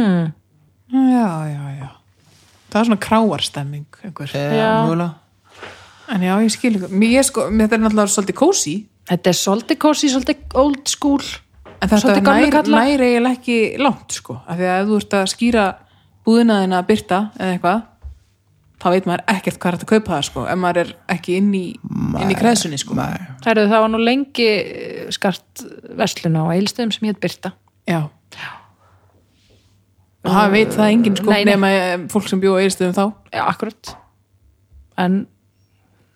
S2: já, já, já það er svona kráarstemming einhver.
S1: Eh.
S3: Já.
S1: mögulega
S2: en já, ég skil ykkur mér, sko, mér þetta er náttúrulega svolítið kósi
S3: Þetta er svolítið kósi, svolítið old school
S2: en þetta
S3: Svolítið gamlir
S2: nær,
S3: kallar.
S2: nær eiginlega ekki langt sko, af því að ef þú ert að skýra búðinaðina að byrta eða eitthvað þá veit maður ekkert hvað er hægt að kaupa það sko, ef maður er ekki inn í, inn í kreðsunni sko
S1: Nei.
S3: Herðu, það var nú lengi eh, skart versluna á eilstöðum sem hétt Birta
S2: já og það veit það enginn sko
S3: Nei, nei.
S2: nema eh, fólk sem bjóða eðstöðum þá
S3: Já, akkurat En,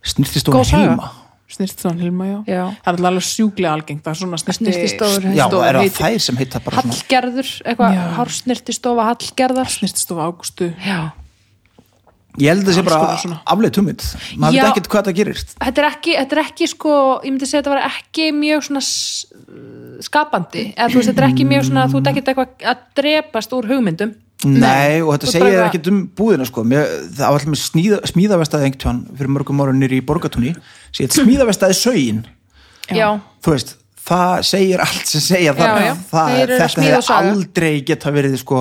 S3: Góð
S1: snirtistofan
S3: saga.
S1: heima
S2: snirtstofan Hilma, já.
S3: Já.
S2: það er alveg sjúklega algengt að svona snirti
S3: Snyrtistofur,
S1: já,
S2: snyrtistofur
S1: er það
S2: heiti-
S1: þær sem heita bara svona
S3: Hallgerður, eitthvað,
S2: Já.
S3: hársnirtistofa Hallgerðar
S2: snyrtistofa Ágústu
S3: Já,
S1: ég held að það sé
S2: konar
S1: bara
S2: svona.
S1: afleitt hugmynd maður
S3: Já.
S1: veit ekkert hvað það gerist
S3: þetta er ekki, þetta er ekki sko, ég myndi segja þetta var ekki mjög svona s- eh, skapandi eða þú veist, þetta er ekki mjög svona, þú ert ekki eitthvað að drepast úr hugmyndum
S1: Nei, og þetta
S3: Þú
S1: segir
S3: bara-
S1: ekkert um búðina sko. Mér, það var allmest smíða, smíðavestaði einhvern tján fyrir mörgum ára nýri í borgatúni segir smíðavestaði sögin
S3: Já, já,
S1: þú veist, það segir allt sem segja það,
S3: Já, já.
S1: það
S3: Þeir eru að
S1: þetta
S3: smíða
S1: hefði
S3: saga.
S1: aldrei geta verið sko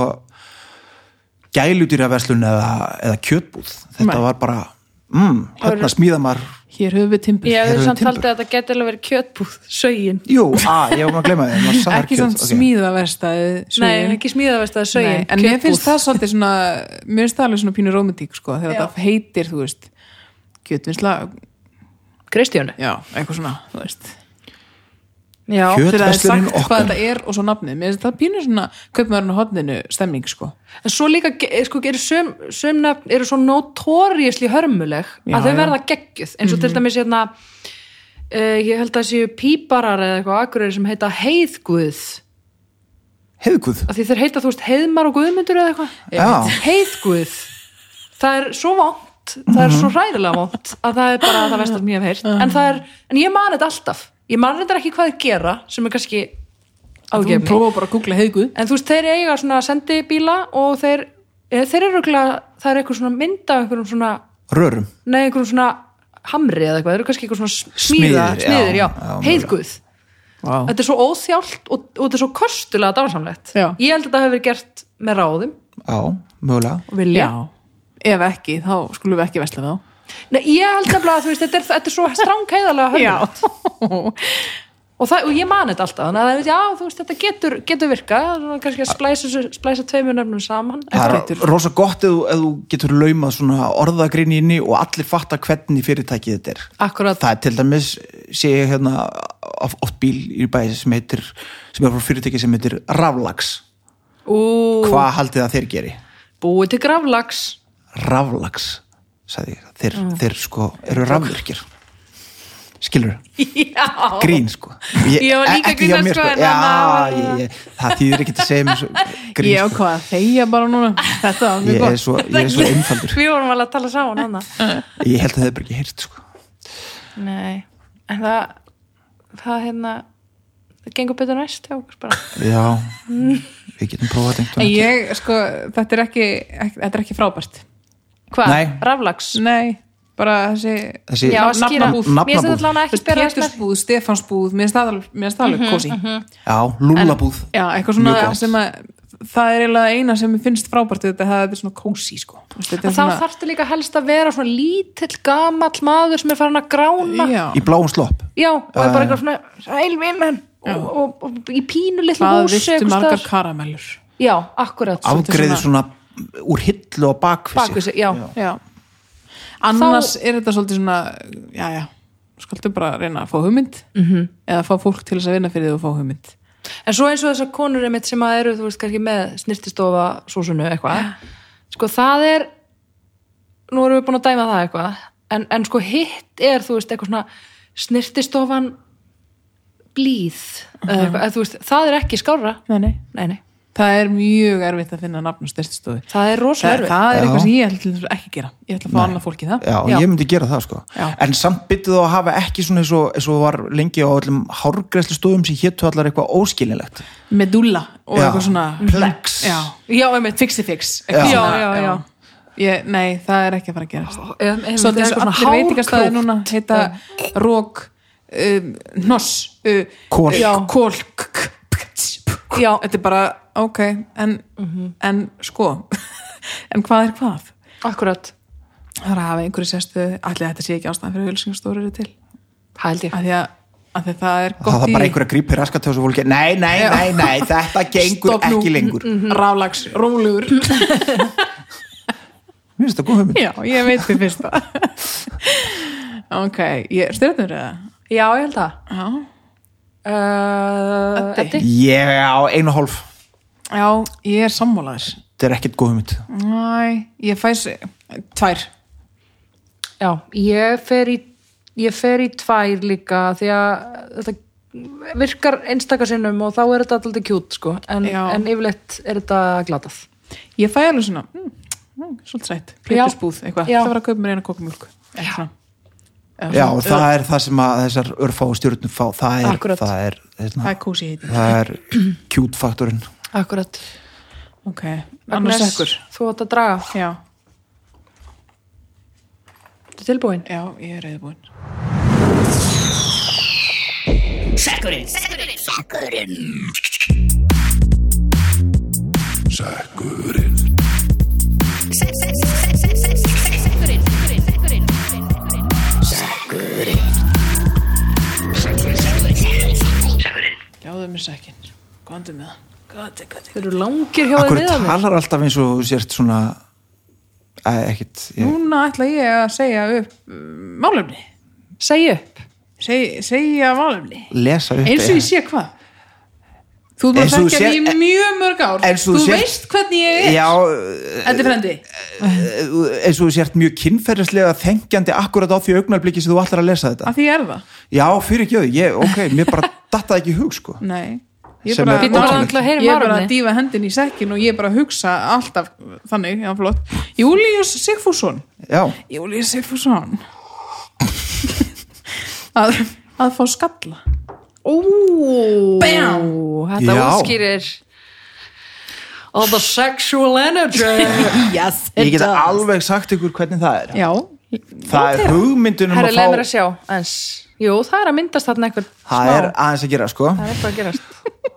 S1: gæludýraverslun eða, eða kjötbúð þetta
S2: Nei.
S1: var bara mm, hérna smíða maður
S2: hér höfum við timbur
S3: ég
S1: Hér
S3: hefði
S1: eru
S3: samt
S1: timbur.
S3: haldið að þetta geti alveg verið kjötbúð, sögin
S1: jú, að, ég var maður að gleyma því maður sagði
S2: ekki
S1: kjöt,
S2: samt
S1: ok.
S2: okay. smíðaverstaði
S3: Nei, ekki smíðavest að sögin,
S2: Nei, en mér finnst það svolítið svona mér finnst það alveg svona pínu romantík sko, þegar
S3: Já.
S2: þetta heitir, þú veist kjötvinnsla,
S3: Kristjánu
S2: já, eitthvað svona þú veist,
S3: Já,
S1: Kjöt-
S2: þegar það er
S1: Verslunin
S2: sagt
S1: okkar.
S2: hvað þetta er og svo nafnið, mér finnst það pínu svona kaupmaðurinn á hodninu stemming sko
S3: en svo líka, ge- eh, sko, eru söm, söm nöfn eru svo notóriðsli hörmuleg
S2: Já,
S3: að þau
S2: já. Mhm.
S3: verða geggjuð, eins og til dæmis hérna eh, uh, ég held að séu píparar eða eitthvað akkurir sem heita heiðguð
S1: heiðguð
S3: að því þeir heita, þú veist, heiðmar og guðmyndur eða eitthvað
S1: Já.
S3: heiðguð það er svo vont, það er
S2: Mhm.
S3: svo hræðilega vont að það er bara það veist allt mjög hef heyrt en, það er, en ég man þetta alltaf ég man þetta ekki hvað þið gera sem er kannski
S2: Þú
S3: ágefni
S2: prófa bara að googla heiðguð
S3: en þú veist, þeir eiga svona sendibíla og þeir, eh, þeir eru örugglega- það er eitthvað svona mynda einhverjum svona,
S1: rörum
S3: nei, einhverjum svona hamri eða eitthvað, þeir eru kannski eitthvað svona smíða,
S1: Smiðir, já,
S3: smiðir, já,
S1: já, mögulega.
S3: heiðguð
S2: wow.
S3: þetta er svo óþjált og, og þetta er svo kostulega dásamlegt
S2: Já.
S3: ég held að þetta hefur verið gert með ráðum
S1: já, mögulega
S3: og vilja
S2: Já, ef ekki, þá skulum við ekki vesla þá
S3: Nei, ég held nefnilega að þú veist, þetta er, þetta er svo strángæðalega hönnulegt og, það- og ég man þetta alltaf þannig að það, já, þú veist, þetta getur, getur virka kannski að splæsa, þessu- splæsa tveimur nefnum saman
S1: það
S2: getur-
S1: er rosa gott ef, þú- ef þú getur laumað svona orðagrinni inni og allir fatta hvernig fyrirtækið þetta er
S3: akkurat
S1: það er til dæmis sé ég hérna of- oft bíl í bæði sem heitir sem er frá fyrirtæki sem heitir Raflags
S3: og
S1: hvað haldið það þeir geri?
S3: búið til graflags
S1: Raflags sagði ég, þeir, þeir sko eru rafvirkir skilur
S3: já,
S1: grín sko
S3: Ég var líka
S1: ekki hjá
S3: grínast,
S1: mér,
S3: sko, en
S1: já,
S3: annað-
S1: ég, ég, það þýðir ekki að segja mér svo grín
S2: Ég
S1: sko.
S2: ákvað að þegja bara núna Þetta var mjög
S1: ég er
S2: gott
S1: svo, ég er svo einfaldur
S3: við vorum alveg að tala saman hann
S1: ég held að það er bara ekki heyrt sko.
S3: nei, en það það hérna það gengur betur næst hjá okkur bara
S1: já, við getum prófað
S2: En
S1: þetta einhvern
S2: ég, sko, þetta er ekki, ekki Þetta er ekki frábært
S3: hvað,
S1: Nei.
S3: raflags
S2: Nei, bara þessi
S1: Þessi-
S3: já,
S2: nafn-
S3: skýra, mér
S2: nafnabúð.
S3: finnst
S1: Nafnabúð.
S3: þetta alveg ekki Mhm, spyrja
S2: Pétursbúð, Stefansbúð Mér finnst það alveg kósi
S1: tímann. já, lúllabúð
S2: Já, eitthvað
S1: Mjög
S2: svona
S1: gott.
S2: sem að það er eiginlega eina sem mér finnst frábært við þetta, það þetta er svona kósi sko. Þú veist, þetta
S3: En
S2: er
S3: þá
S2: svona,
S3: þarftu líka helst að vera svona lítill, gamall maður sem er farin að grána.
S2: já,
S1: í bláum slopp
S3: Já, og er bara eitthvað svona, sæl vinnan, og, og, og, í pínu litlu
S2: hvað
S3: húsi.
S2: viltu
S3: einhvers
S2: margar
S3: staðar.
S2: karamellur
S3: Já, akkurat.
S1: afgreði svona úr hillu á bakvissi
S3: Bakvísi, já.
S2: já. annars er þetta svolítið svona já, já, skaltu bara reyna að fá hugmynd
S3: Mhm.
S2: -hmm. eða fá fólk til þess að vinna fyrir því og fá hugmynd
S3: En svo eins og þessar konur einmitt sem að eru, þú veist, kannski með snirtistofa sósunu eitthvað. Sko, það er, nú erum við búin að dæma það eitthvað, en, en sko hitt er, þú veist, eitthvað svona snirtistofan blíð. Uh eitthvað, eða, þú veist, það er ekki skárra.
S2: nei, nei.
S3: Nei, nei.
S2: það er mjög erfitt að finna nafn og styrstustofi
S3: Það er rosalega
S2: það,
S3: erfitt.
S2: það er
S1: Já.
S2: eitthvað sem ég ætla til dæmis ekki að gera ég ætla að fá annað fólk í það
S1: já,
S3: Já.
S1: ég myndi gera það sko
S2: Já.
S1: en samt byttið þú að hafa ekki svona eins og, eins og var lengi á öllum hárgreðslu stofum sem héttu allar eitthvað óskilinlegt
S2: medulla og
S1: Já.
S2: eitthvað svona
S1: Plex.
S2: já,
S3: Já, einmitt.
S2: fixi fix
S1: Já.
S3: Já, já, já.
S2: Ég, nei, það er ekki að fara að gerast
S3: Em- em-
S2: Svo
S3: þetta
S2: þess að
S3: er eitthvað
S2: allir
S3: svona
S2: veitingastæði
S3: hárkrókt.
S2: núna heita rók, um, hnoss, uh,
S1: Kol.
S2: já, kol, k- k- k- tss, p- k-
S3: Já.
S2: Þetta er bara, ok, en, en sko, en hvað er hvað?
S3: Akkurat,
S2: Það er að hafa einhverju sestu, allir þetta sé ekki ástæðan fyrir hulsingastóru eru til.
S3: hældi
S2: Af því að, að því að það er
S1: það
S2: gott
S1: er
S2: í
S1: bara einhverja grípi raskat þessu fólki nei, nei, nei, nei, þetta gengur
S2: Stopp nú. Mhm.
S1: ekki lengur
S2: rálags, rólugur.
S1: mér finnst það góð hugmynd
S2: já, ég veit því fyrst það. ok, ég styrnur það.
S3: Já, ég held það
S2: Já,
S3: uh,
S2: Eddi.
S3: Eddi.
S1: ég á einu og hálf,
S2: já, ég er sammálaður.
S1: þetta er ekkert góð hugmynd
S2: Næ, ég fæs tvær.
S3: Já, ég fer í ég fer í tvær líka því að þetta virkar einstakarsinnum og þá er þetta alltaf kjút sko, en,
S2: Já.
S3: en yfirleitt er þetta glatað
S2: Ég fæ alveg svona, mm, mm, svolítið sætt, plötusbúð, eitthvað.
S3: Já.
S2: Það var að kaupa mér eina kókumjólk. Já.
S1: já, og það er það sem að þessar örfá og stjórnum fá, það er
S3: Akkurat.
S1: það er,
S2: Það
S1: hérna,
S2: er kósi heiti.
S1: það er cute faktorinn
S3: Akkurat
S2: Ok, annars ekkur.
S3: Þú átt að draga,
S2: Já,
S3: þetta er tilbúin
S2: já, ég er reyðbúin. Gjáðu mér sækinn. Góðandu með það. Góðandu, góðandu.
S3: Þeir eru langir hjá þeir
S1: akkur
S3: meðan
S1: talar alltaf eins og þú sért svona Æ, ekkit, ég,
S2: Núna ætla ég að segja upp um, málefni.
S3: Segja upp
S2: Seg, segja málefni.
S1: lesa upp
S2: Eins og ég sé hvað. Þú ert
S1: Eins og
S2: búin að
S1: þú
S2: þekkja
S1: sér-
S2: mig í mjög mörg ár.
S1: Eins og
S2: Þú
S1: þú sér-
S2: veist hvernig ég er.
S1: já,
S2: Þetta er frendi.
S1: eins og þú sért mjög kynferðislega þengjandi akkurat á því augnabliki sem þú
S2: Ah.
S1: ætlar að lesa þetta
S2: Af því ég er það.
S1: já, fyrir ekki ég, ok, mér bara dattaði ekki í hug sko
S2: Nei. Ég
S1: Sem
S2: bara,
S1: er
S2: Bíddu,
S1: ótrúlegt.
S2: náttúrulega
S3: Heyrum
S2: ég er bara
S3: Aroni.
S2: að dýfa hendin í sekkin og ég er bara að hugsa alltaf þannig, já flott Július Sigfússon
S1: já,
S2: Július Sigfússon að, að fá skalla
S3: Ó,
S2: Bam!
S3: Þetta
S1: Já.
S3: útskýrir All the sexual energy
S2: yes,
S1: ég get alveg sagt ykkur hvernig það er
S2: já,
S1: það er hugmyndunum
S3: Herra, leið
S1: að fá
S3: mér að sjá eins. Jú, það er að myndast þarna eitthvað
S1: það er aðeins að gera sko
S3: Það er eitthvað að gerast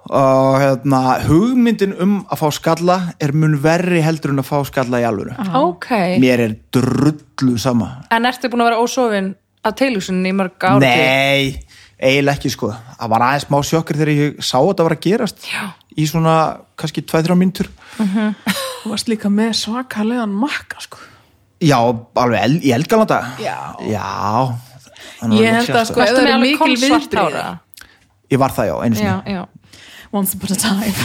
S1: og hérna, hugmyndin um að fá skalla er mun verri heldur en að fá skalla í alvöru
S3: Ok,
S1: mér er drullu sama
S3: en ertu búin að vera ósofin af tilhugsunni í mörg ára
S1: Nei, eiginlega ekki sko það var aðeins smá sjokkur þegar ég sá að það var að gerast
S3: Já.
S1: í svona kannski 2-3 mínútur
S2: þú varst líka með svakalegan makka sko
S1: Já, alveg el, í eldgalanda
S2: Já.
S1: Já það var
S2: Ég
S1: alveg
S2: held að
S1: sérstakt.
S2: sko-
S3: Ertu
S2: Það
S3: með
S2: eru
S3: alveg
S2: mikil
S3: kolsvart
S2: viðbrigði.
S3: ára
S1: Ég var það já, einu
S3: Já,
S1: sinni
S3: já
S2: once upon a time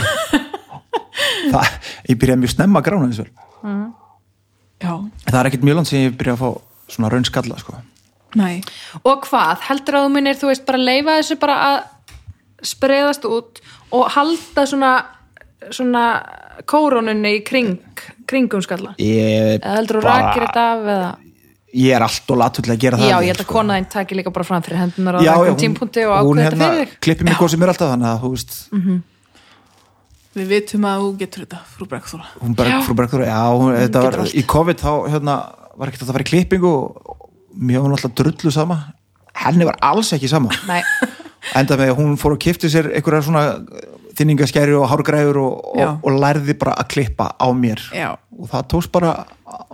S1: Það- Ég byrjaði mjög snemma að grána eins og vel.
S2: já,
S1: Það er ekkert mjög land sem ég byrjaði að fá svona raun skalla sko
S2: nei,
S3: Og hvað, heldur að þú munir, þú veist, bara leifa þessu bara að spreðast út og halda svona, svona kórónunni í kring, kringum skalla?
S1: Ég,
S3: Eða heldur þú
S1: bara-
S3: rakir þetta af eða?
S1: ég er allt og latull að gera það
S3: Já,
S1: alveg,
S3: ég held að
S1: sko.
S3: kona þín taki líka bara fram fyrir hendunar á
S1: Já, já,
S3: einhverjum
S1: hún,
S3: tímpunkti og
S1: hún
S3: ákveða þetta
S1: hérna
S3: fyrir þig.
S1: klippi mig góð sem er alltaf þannig að þú veist,
S2: við vitum að þú getur þetta frú Brekþóra
S1: hún bara, frú Bergþóra, já, hún, þetta var, í COVID þá, hérna, var ekkert hægt að fara í klippingu og mér var náttúrulega drullu sama henni var alls ekki sama
S3: Nei,
S1: enda með að hún fór og kipti sér einhverjar svona þinningaskerju og hárgræður og,
S2: Já.
S1: og, og lærði bara að klippa á mér
S2: Já.
S1: og það tókst bara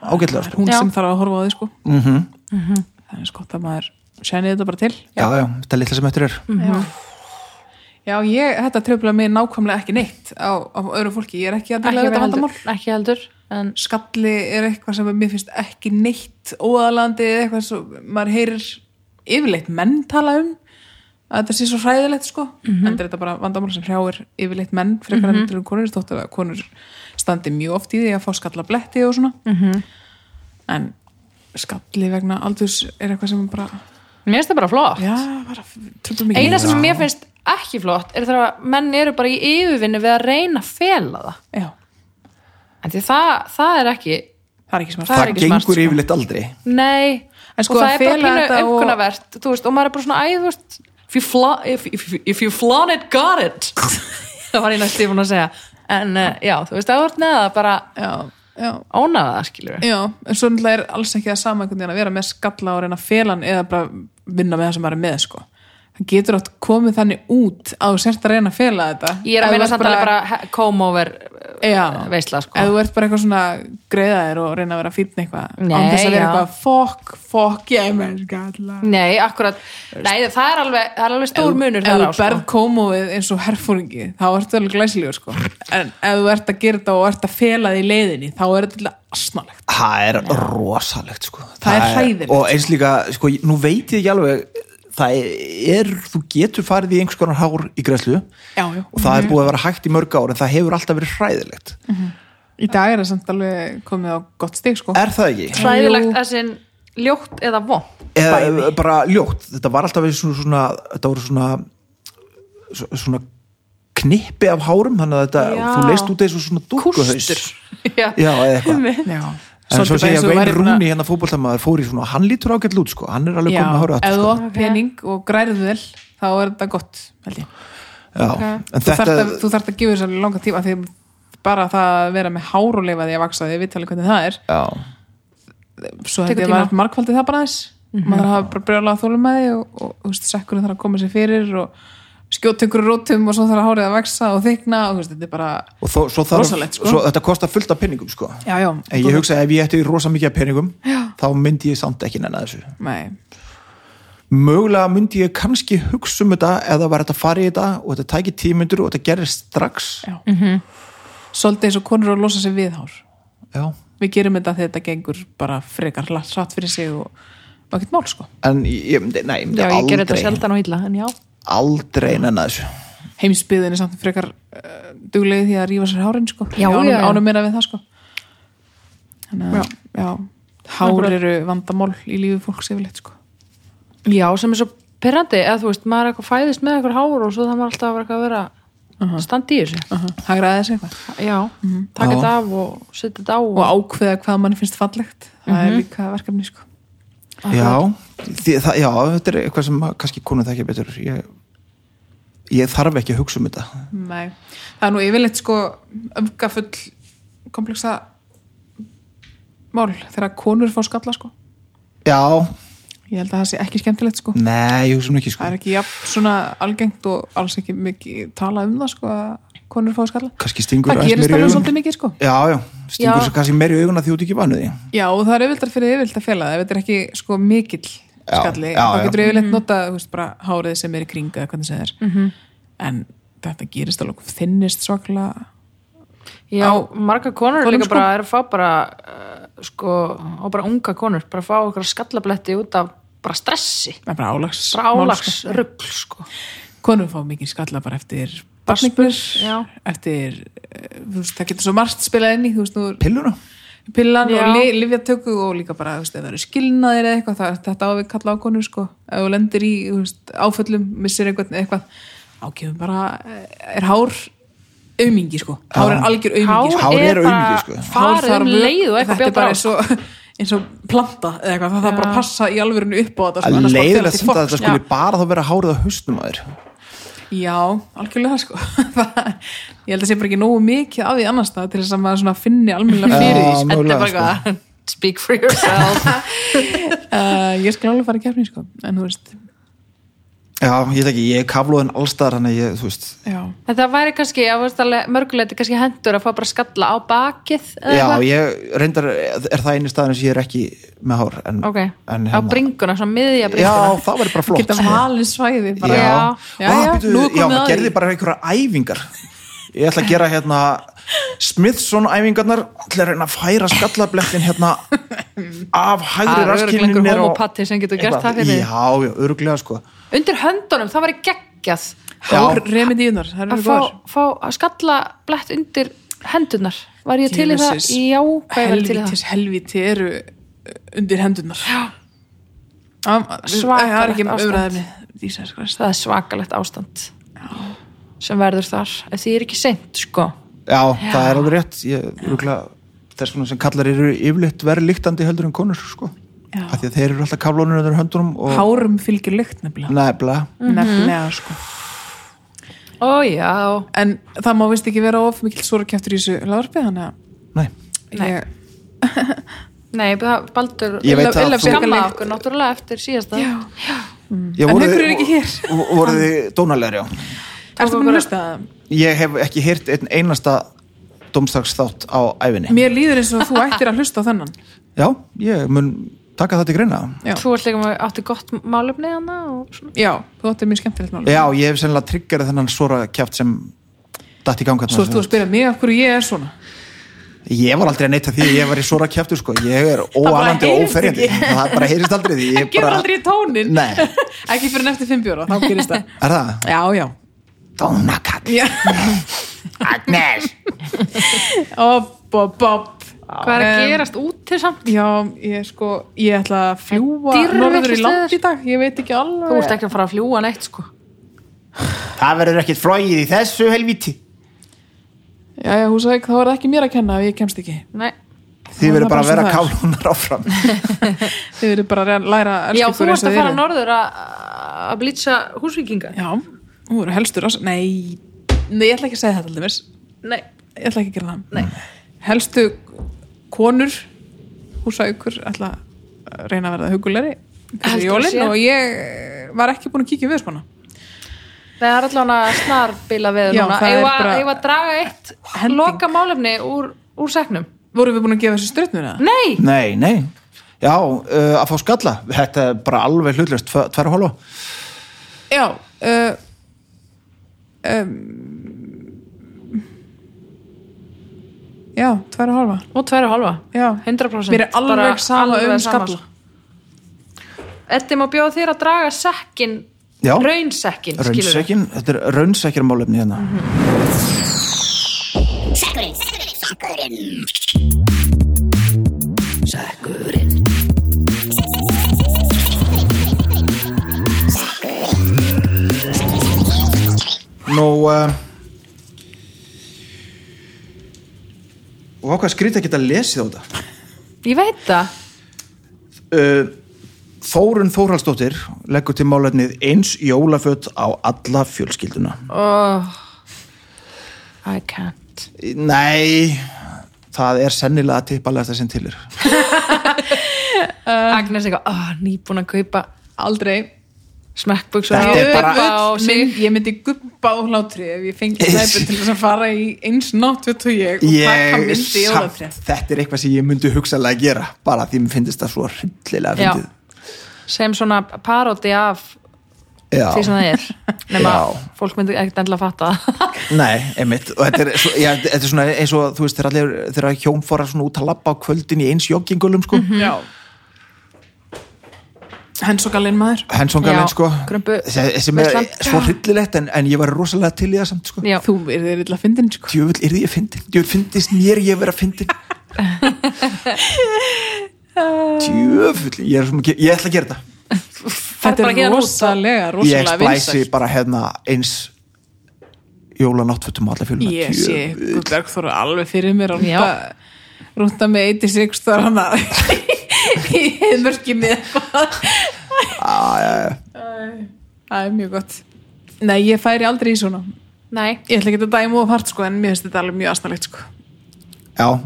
S1: ágætlega sko. Mhm.
S2: hún
S3: Já.
S2: sem þarf að horfa á því sko mm -hmm. það er sko það maður senni þetta bara til
S1: já, já, þetta litla sem eftir er
S3: Mhm.
S2: já, ég, þetta tröfla mig nákvæmlega ekki neitt á, á öðru fólki, ég er ekki að
S3: ekki,
S2: dela við
S3: heldur,
S2: þetta vandamál
S3: ekki heldur. En,
S2: skalli er eitthvað sem mér finnst ekki neitt óðalandi eða eitthvað sem maður heyrir yfirleitt menn tala um að þetta sé svo hræðilegt sko mm
S3: Mhm.
S2: -hmm. en þetta er bara vandamál sem hrjáir yfirleitt menn frekar mm -hmm. en konur, þótt að konur standi mjög oft í því að fá skalla bletti og svona
S3: Mhm.
S2: -hmm. en skalli vegna aldurs er eitthvað sem bara,
S3: mér finnst það bara flott.
S2: já, bara tröfla mikið
S3: Eina sem mér finnst ekki flott er þegar að menn eru bara í yfirvinni við að reyna að fela það.
S2: já,
S3: En því það, það er ekki,
S2: það er ekki smart
S3: Það
S1: það
S3: er ekki
S1: gengur
S3: smart, sko.
S1: yfirleitt aldrei
S3: nei,
S2: En sko,
S3: og
S2: að
S3: það er
S2: fela
S3: bara pínu
S2: þetta og-
S3: umkunavert, þú veist, og maður er bara svona, æ, þú veist, if you, fla, if, if, if you flan it, got it. það var eina stífun að segja. En uh, já, þú veist, það vart neða bara
S2: já, já
S3: ónaða það, skilur við.
S2: Já, en svo náttúrulega er alls ekki það sama einhvern veginn að vera með skalla og reyna félan eða bara vinna með það sem maður er með sko. Það getur átt komið þannig út að þú sért að reyna að fela þetta
S3: Ég
S2: Ef
S3: er að
S2: þú
S3: meina
S2: ert
S3: samt alveg bara come over eh,
S2: Já.
S3: veisla sko.
S2: Ef þú ert bara eitthvað svona greiðaðir og reyna að vera fýtn eitthvað
S3: Nei,
S2: án þess að vera
S3: já.
S2: eitthvað fokk, fokk, ég er með skalla
S3: Nei, akkurat, nei það er alveg, það er alveg stór munur
S2: Ef
S3: þar á sko.
S2: þú berð komóið eins og herfóringi þá ertu alveg glæsilegur sko en ef þú ert að gera þetta og ert að fela því leiðinni þá er þetta asnalegt
S1: það er rosalegt sko.
S2: Það er hræðilegt.
S1: og eins líka, sko, ég- nú veit ég ekki alveg það er, þú getur farið í einhvers konar hár í græslu
S2: Já, Mhm. já.
S1: og það er búið að vera hægt í mörg ár en það hefur alltaf verið hræðilegt
S2: Mhm. Í dag er það samt alveg komið á gott stig sko
S1: er það ekki?
S3: Hræðilegt
S2: Jú.
S3: að sinn ljótt eða vond
S1: eða bara ljótt, þetta var alltaf eins og svona, þetta voru svona svo- svona knippi af hárum, þannig að þetta,
S3: Já.
S1: þú leist út eins og svona dúkuhaus
S3: Kústur Já,
S1: já, eða eitthvað
S2: Já.
S1: en svo
S2: Svolítið
S1: segja
S2: eins
S1: að
S2: og
S1: Vein
S2: væri búin að-
S1: Rúni hérna fótboltamaður fór í svona, hann lítur ágætt lút sko, hann er alveg
S2: Já,
S1: komin að hára
S2: ef þú
S1: sko.
S2: átt pening og grærið vel þá er þetta gott, held ég
S1: Já, en
S2: þú, þarft
S1: þetta,
S2: að, þú þarft að gefa þess að langa tíma því bara það að vera með hár og leifa því að vaksa því við tala hvernig það er
S1: já
S2: svo
S3: Tekur
S2: held ég
S3: tíma.
S2: að markvaldið það bara þess maður þarf að hafa bara brjóla að þólum með því og, og, og veist, sekkurinn þarf að koma sér fyrir og skjóta ykkur rótum og svo þarf að hárið að vaksa og þykna og þú veist, þetta er bara
S1: og þó, svo þarf,
S2: Rosalegt, sko.
S1: svo, þetta kostar fullt af penningum sko
S2: já, já,
S1: en ég hugsa ef ég ætti rosa mikið af penningum þá myndi ég samt ekki nennan þessu
S2: nei,
S1: mögulega myndi ég kannski hugsa um þetta eða var þetta að fara í þetta og þetta tæki tímyndur og þetta gerir strax
S2: já. svolítið eins og konur að losa sér við hár
S1: já.
S2: við gerum þetta þegar þetta gengur bara frekar hratt fyrir sig og og ekkert mál sko
S1: en ég, ég myndi- nei, ég myndi
S3: já ég ger þetta
S1: aldrei
S3: sjaldan og illa En já,
S1: aldrei nennan þessu
S2: heimsbyðin er samt frekar uh, duglegið því að rífa sér hárin sko
S3: Já,
S2: ánum,
S3: já, já.
S2: ánum meira við það sko þannig að já. hár eru vandamál í lífi fólks yfirleitt sko
S3: já sem er svo pyrrandi eða þú veist, maður er eitthvað fæðist með eitthvað hár og svo það maður alltaf að vera eitthvað að vera standa í þessu
S2: hagraði þessi eitthvað
S3: já, taka
S1: Já.
S3: þetta af og setja þetta á
S2: og ákveða hvað mann finnst fallegt það er
S3: Mhm.
S2: líka verkefni sko
S1: Já, því, það, já, þetta er eitthvað sem að kannski konum það ekki betur ég, ég þarf ekki að hugsa um þetta
S2: Nei. það er nú yfirleitt sko öfgafull kompleksa mál þegar konur fá skalla sko
S1: Já,
S2: ég held að það sé ekki skemmtilegt sko
S1: nei, ég hugsa um ekki
S2: það
S1: sko.
S2: er ekki jafn svona algengt og alls ekki mikið tala um það sko að konur fá skalla
S1: kannski stingur
S2: það
S1: aðeins
S2: gerist
S1: meira í
S2: alveg
S1: augun.
S2: svolítið mikið sko
S1: Já, já, stingur
S3: Já.
S1: svo kannski meiri augun að því út ekki vanu því
S2: Já, og það er auðvitað fyrir auðvitað fela það, ef þetta er ekki sko mikill
S1: Já,
S2: skalli,
S1: já,
S2: þá
S1: já.
S2: getur
S3: Mhm.
S2: auðvitað nota þú veist, bara hárið sem er í kringa, hvernig sem það er en þetta gerist alveg þinnist svakla
S3: já,
S2: á-
S3: marga konur
S2: Konum,
S3: líka
S2: sko.
S3: bara er að fá bara uh, sko, og bara unga konur bara fá okkur skallabletti út af bara stressi,
S2: það er bara álags,
S3: bara álags rugl sko.
S2: konum fá mikið skalla bara eftir
S3: Barnsburð,
S2: barnignir,
S3: já.
S2: eftir eh, þú veist, það getur svo margt spilað inn í þú veist, nú er
S1: Pilluna?
S2: pillan
S3: Já.
S2: og li, livjatöku og líka bara, þú veist, ef það eru skilnaðir eða eitthvað, það, þetta á við kalla á konur sko, ef þú lendir í, þú veist, áföllum missir eitthvað, eitthvað ágefum bara, eh, er hár aumingi sko, hár er algjör aumingi sko.
S1: Hár er
S3: bara
S1: aumingi, sko.
S2: Hár
S3: farið
S2: þarf
S3: um
S2: vökva-
S3: leið og eitthvað
S2: þetta er
S3: bjóta
S2: bara
S3: á
S2: eins og, eins og planta eða eitthvað, það þarf bara að passa í alvörinu upp á þetta sko,
S1: Að
S2: annars bara fer
S1: leiðilegt
S2: allt í
S1: sem
S2: fokk,
S1: þetta
S2: sko.
S1: skuli bara þá vera hárið á haustum að þér
S2: Já, algjörlega sko Það- Ég held að sé bara ekki nógu mikið af því annars það til þess að maður svona finni almennilega fyrir því
S1: Já,
S2: sko.
S3: Þetta er
S1: mögulega,
S3: bara eitthvað speak for yourself
S2: uh, Ég skal alveg fara í kefni sko En þú veist,
S1: Já, ég veit ekki, ég er kaflóðin allstar þannig að ég, þú veist
S2: já
S3: Þetta væri kannski, að veist alveg mörguleiti kannski hendur að fá bara skalla á bakið eða
S1: Já,
S3: eitthvað.
S1: ég reyndar, er það einu staðin sem ég er ekki með hár en,
S3: Ok,
S1: en
S3: á
S1: hérna-
S3: bringuna, svona miðja
S1: Já,
S3: bringuna.
S1: það verður bara flott
S2: Geta
S1: sko.
S2: valið svæði bara
S3: Já.
S2: já,
S1: Vá,
S2: já,
S1: býtu,
S2: nú er
S1: já,
S2: komið
S1: maður
S2: að
S1: gerði
S2: því.
S1: bara einhverja æfingar Ég ætla að gera hérna Smithson æfingarnar ætla að reyna að færa skallablettin hérna af hægri
S3: Það er örugglega
S1: raskinni
S3: einhver
S1: niður á-
S3: homopati sem getur gert það fyrir þig.
S1: Já, já, örglega sko
S3: Undir höndunum, það væri geggjað
S2: Hár remedíunar, það eru
S3: að fá,
S2: góðar
S3: fá að skalla blett undir hendurnar. Var ég til í það?
S2: Jesus.
S3: Já, hvað ég væri til í það?
S2: Helvítis, helvíti eru uh, undir hendunar Já Það er
S3: Svakalegt
S2: ekki
S3: ástand.
S2: umræðinni Jesus Christ
S3: Það er svakalegt ástand sem verður þar. Ef Því er ekki seint, sko.
S1: Já, það er alveg rétt Ég örglega þess vegna sem kallar eru yfirleitt verið líktandi heldur en konur sko
S2: Já.
S1: Af Því að þeir eru alltaf kaflónir undir höndunum og
S2: Hárum fylgir lykt nefnilega
S1: nefnilega
S3: Mhm.
S2: Nefnilega sko
S3: Ó já,
S2: En það má vist ekki vera of mikill sorgkjæftur í þessu larpi þannig að
S1: Nei,
S2: Ég,
S3: nei, það- Baldur
S1: Ég veit að þú-
S3: skamma okkur náttúrulega eftir síðasta
S2: já.
S1: Ég
S2: Mm. En
S1: voru-
S2: haukur eru ekki hér.
S1: vo- Voruð þið dónalegar, já
S2: Ertu búin að hlusta það?
S1: ég hef ekki heyrt einn einasta domstagsþátt á æfinni
S2: Mér líður eins og þú ættir að hlusta á þennan
S1: já, ég mun taka það til greina
S2: Já.
S3: Þú ert líka með átti gott málefni hana og svona.
S2: Já, þú áttir mjög skemmtilegt mál
S1: já, ég hef sennilega triggerið þennan svora kjátt sem datt í hérna ganga
S2: Svo ert þú að spyrja mig af hverju ég er svona
S1: ég var aldrei að neita því að ég var í svora kjáttur sko. ég er óalandi og
S2: heyrist
S1: óferjandi það bara heyrist aldrei því ég
S2: Gerðu
S1: bara...
S2: aldrei í tónin
S1: Nei.
S2: Ekki fyrir en eftir fimm bjóra, þá gerist það
S1: er það?
S2: Já, já,
S1: dónakall
S2: já.
S1: Agnes
S2: Op, op, op
S3: Hvað er að gerast út til samt?
S2: Já, ég sko, ég ætla að fljúa
S3: Dýrðir
S2: norður í
S3: ekki
S2: land í
S3: stöður?
S2: dag Ég veit ekki alveg
S3: Þú ert ekki að fara að fljúa neitt sko
S1: það verður ekkert flóið í þessu helviti
S2: Já, já, húsavík, þá er það ekki mér að kenna ef ég kemst ekki
S3: Nei.
S1: þið verður
S2: Það er
S1: bara að vera
S2: bara svo
S1: kálúnar áfram
S2: Þið eru bara að læra að
S3: Já,
S2: elska
S3: þú
S2: ykkur eins
S3: ert
S2: og
S3: að
S2: þið
S3: fara
S2: eruð.
S3: norður að að blýtsa húsvíkinga
S2: Já, þú eru helstur ás... Nei, nei, ég ætla ekki að segja þetta alveg
S3: Nei,
S2: Ég ætla ekki að gera það
S3: Nei.
S2: Helstu konur húsaukur ætla að reyna að verða hugulegri fyrir
S3: Heldur
S2: jólin
S3: sé.
S2: og ég var ekki búin að kíkja við skona
S3: það er allan að snarbila við
S2: Já,
S3: núna
S2: það er
S3: Ég
S2: bara-
S3: var að draga eitt
S2: Hending.
S3: loka málefni úr, úr seknum
S2: Vorum við búin að gefa þessu stjörnur eða?
S3: Nei,
S1: nei, nei já, uh, að fá skalla þetta er bara alveg hlutlust tverra hólfa
S2: Já uh, um, Já, tværa hálfa
S3: og tverju hálfa
S2: Já,
S3: 100%
S2: mér er
S3: Bara
S2: alveg sama
S3: alveg
S2: um
S3: sama,
S2: skalla
S3: sko. Eddi má bjóða þér að draga sekkin
S1: Já.
S3: Raunsekkin, skilur við
S1: Raunsekjum, þetta er raunsekjur málefni hérna
S4: Sækurinn Sækurinn
S1: Nú, uh, og ákvað skrýta að geta lesið á þetta
S3: Ég veit það
S1: uh, Þórun Þórhalsdóttir leggur til málefnið eins jólaföt á alla fjölskylduna
S3: oh, I can't
S1: Nei það er sennilega að tippa alveg þetta sem til er
S3: Agnes eitthvað,
S2: "Ah,
S3: oh, nýbúin að kaupa
S2: Aldrei
S3: smekkbuks og
S1: Þetta er bara-
S3: gubba á
S2: Öll
S3: sig
S2: mynd, ég myndi guppa á hlátri ef ég fengi snæpur til þess að fara í eins nátt við og ég og taka
S1: ég,
S2: myndi í
S1: samt,
S2: ólatri
S1: þetta er eitthvað sem ég myndi hugsalega að gera bara því mér finnst það svo hryllilega
S3: Já.
S1: fyndið
S3: sem svona parodi af
S1: Já.
S3: því sem það er nema
S1: Já.
S3: fólk myndi ekkert endilega fatta það.
S1: Nei, einmitt og þetta er, svo, já, þetta er svona eins og þú veist þegar, allir, þegar hjón fóra svona út að labba á kvöldin í eins joggingulum sko
S3: Mhm.
S1: mm
S2: Já Hensokallinn maður
S1: hensongalinn
S3: Já,
S1: sko
S3: grumbu-
S1: sem sem er
S3: veislan.
S1: svo hryllilegt en, en ég var rosalega til í það samt sko
S3: Já.
S2: Þú er þeir illa að fyndin sko
S1: djöfull yrði ég fyndin, djöfull fyndist mér ég vera fyndin djöfull ég, er svo mikið- ég ætla að gera þetta
S3: Ferð
S2: Þetta
S3: bara
S2: er
S3: héðan út og-
S2: rosalega,
S1: ég
S2: rosalega
S1: splæsi
S2: vinsælt.
S1: bara hérna eins jólanáttfötum alla fjöluna
S2: Ég sé,
S1: djöfull.
S2: Guðberg þóru alveg fyrir mér að
S3: Já.
S2: rúnta- rúnta með 86 þar hana í heimörkjum eða eitthvað
S1: Á, já, já.
S2: Það er mjög gott Nei, ég færi aldrei í svona
S3: Nei,
S2: Ég ætla ekki að dæma of hart sko en mér finnst þetta alveg mjög astanlegt sko
S1: já,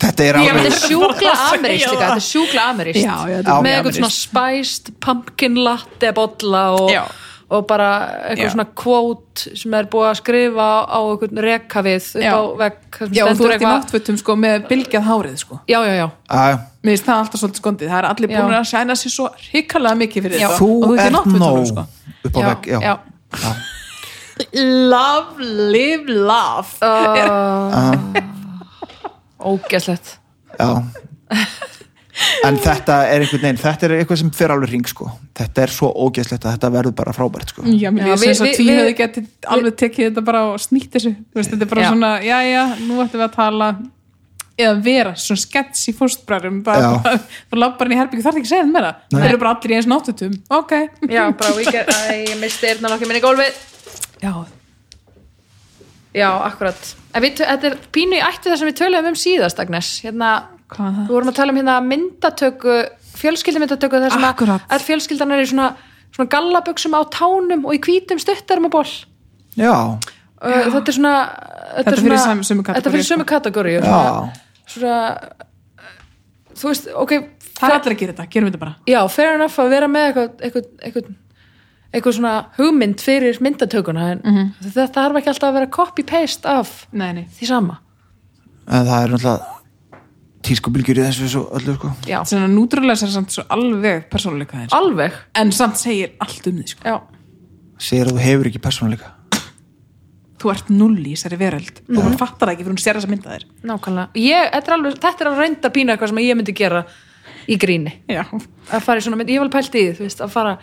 S1: þetta er
S2: Ég
S3: þetta
S1: alveg
S3: er
S2: veit- Bara
S3: sjúkla
S2: að segja
S3: ameríst líka,
S2: það.
S3: þetta er sjúkla ameríst
S2: Já, já, þetta
S1: er
S3: með
S1: mjög
S3: eitthvað svona spiced pumpkin latte bolla
S2: Já.
S3: og, og bara eitthvað
S2: Já.
S3: svona quote sem er búið að skrifa á eitthvað reka við upp
S2: Já.
S3: á vegg þar sem
S2: Já, og þú
S3: stendur
S2: ert í náttfötum sko með bylgjað hárið sko
S3: Já, já, já,
S1: Á, já.
S2: Mér finnst það alltaf svolítið skondið Það er allir
S3: Já.
S2: búin að sæna sér svo hrikalega mikið fyrir
S3: Já.
S2: þetta
S1: þú
S2: Og ert í
S1: ert
S2: náttfötunum,
S1: nóg
S2: sko.
S1: upp á
S3: Já,
S1: vegg já.
S3: já.
S1: Já.
S2: Love, live, laugh
S3: Uh, ógeðslegt
S1: Já. en þetta er einhvern veginn þetta er eitthvað sem fer alveg ring sko. þetta er svo ógeðslegt að þetta verður bara frábært sko.
S2: Já, mér
S3: Já,
S2: finnst þess
S3: við-
S2: að
S3: við-
S2: tví
S3: við-
S2: hefði getið alveg tekið þetta bara og snýtt þessu Þú veist, Þetta er bara
S3: Já.
S2: svona, já, já, nú ættum við að tala eða vera, svona skets í fóstbræðum
S1: Já.
S2: þú labbar inn í herbyggju, þarf ekki að segja þetta meira það eru bara allir í eins náttutum, ok
S3: Já, bara ég, ég misti eirna nokkið minni gólfið
S2: já,
S3: Já, akkurat En við, þetta er pínu í ættu það sem við töluðum um síðast, Agnes hérna,
S2: Hvað?
S3: Við vorum að tala um hérna myndatöku fjölskyldumyndatöku þar sem
S2: Akkurat.
S3: að all fjölskyldan er í svona, svona gallabuxum á tánum og í hvítum stuttarum og ból
S1: já,
S3: Uh, þetta er svona
S2: Þetta
S3: er
S2: er fyrir sam- sömu sko.
S3: þetta er fyrir
S2: kategoríu,
S3: sömu kategóri
S1: Já.
S3: svona þú veist, ok
S2: það er allir að gera þetta, gerum þetta bara
S3: já, fair enough að vera með eitthvað eitthvað, eitthvað, eitthvað svona hugmynd fyrir myndatökuna en þetta þarf ekki alltaf að vera copy-paste af
S2: Mhm. nei, nei,
S3: því sama
S1: en það er náttúrulega tískubylgjur í þessu svo öllu sko.
S3: já,
S2: svona nútrúlega sér samt svo alveg persónuleika þeir,
S3: alveg
S2: sko. en samt segir allt um því, sko,
S3: já,
S1: segir að þú hefur ekki persónuleika
S2: þú ert null í þessari veröld, þú
S3: Mhm.
S2: bara fattar það ekki fyrir hún sér þess að mynda þér
S3: nákvæmlega ég, þetta, er alveg, þetta er að reynda pína eitthvað sem ég myndi gera í gríni
S2: já,
S3: að fara í svona mynd, ég var alveg pælt í því, þú veist, að fara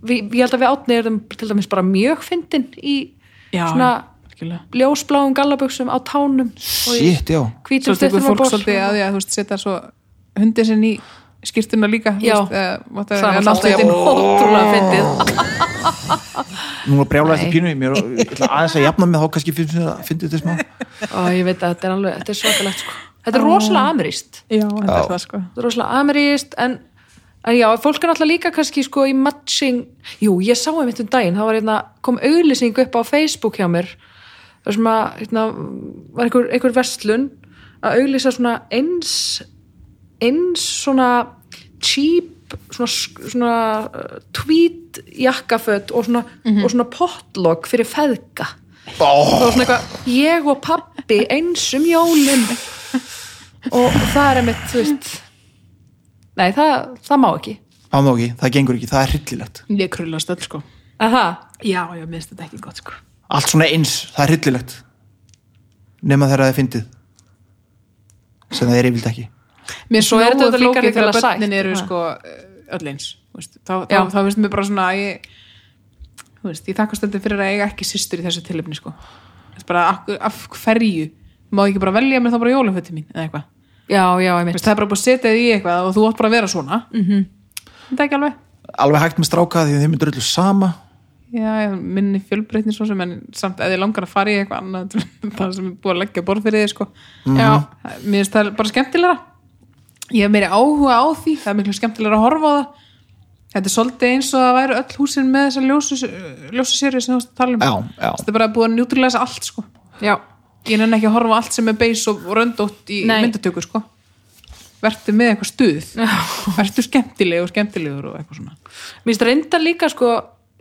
S3: við, ég held að við átni erum til dæmis bara mjög fyndin í
S2: já,
S3: svona
S2: algjörlega.
S3: ljósbláum gallabuxum á tánum og í
S1: shit, já
S3: hvítum
S2: svo tekur
S3: stuttum á
S2: fólk
S3: borð
S2: svolítið að því að þú veist setja svo hundið sinn í skýrtuna líka
S3: Já. það var alltaf jafn ótrúlega fyndið
S1: nú er brjálægt í
S3: Nei.
S1: pínu mér, ég ætla aðeins að jafna með þá kannski finnst þér það finnst þetta smá
S3: og ég veit að þetta er alveg, þetta er svakalegt sko. þetta er rosalega ameríst
S2: já, þetta er það sko
S3: þetta er rosalega ameríst en, en já, fólk er náttúrulega líka kannski sko í matching, jú, ég sá um eitt um daginn, þá var hérna, kom auglýsing upp á Facebook hjá mér þar sem að, hérna, var einhver, einhver verslun að auglýsa svona eins eins svona cheap svona, svona uh, tweed jakkaföt og svona, og svona potlog fyrir feðka það var svona eitthvað ég og pappi eins um jólin og það er einmitt, þú veist nei, það, það má ekki
S1: það má ekki, það gengur ekki, það er hryllilegt
S2: ég krullast öll sko
S3: að það,
S2: já, já, mér finnst þetta ekki gott sko
S1: allt svona eins, það er hryllilegt nema þegar það er fyndið sem það er yfirlega ekki
S2: mér
S3: Svo er
S2: nógu
S3: þetta líka
S2: flókið
S3: líka
S2: þegar
S3: sætt,
S2: börnin eru
S3: það.
S2: sko eh, öll eins þú veist. þá, þá,
S3: Já.
S2: þá finnst mér bara svona að ég þú veist, ég þakkast þetta fyrir að eiga ekki systur í þessu tilöfni sko Þetta er bara af, af hverju má ég ekki bara velja mér þá bara jólaföti mín eða eitthvað
S3: já, já,
S2: Þú veist,
S3: einmitt Mhm.
S2: það er bara búið að setja þig í eitthvað og þú átt bara að vera svona mm -hmm. þetta er ekki alveg
S1: alveg hægt með stráka því að þið myndur öllu sama
S2: já, já, minni fjölbreytni svo sem en samt eða ég langar að fara í eitthvað annað þetta er bara sem er búið að leggja á borð fyrir þið sko.
S1: Mhm.
S3: já,
S2: Það- mér finnst það bara skemmtilegra ég hef meiri áhuga á því það er miklu skemmtilegra að horfa á það þetta er svolítið eins og það væri öll húsin með þessa ljósu, ljósu séri sem þú varst að tala um
S1: Já, já.
S2: þetta er bara búið að njútrilega allt sko.
S3: já,
S2: ég nenni ekki að horfa á allt sem er beis og röndótt í
S3: Nei.
S2: myndatöku sko. verður með eitthvað stuð verður skemmtileg og skemmtilegur og eitthvað svona
S3: mér streyndar líka sko,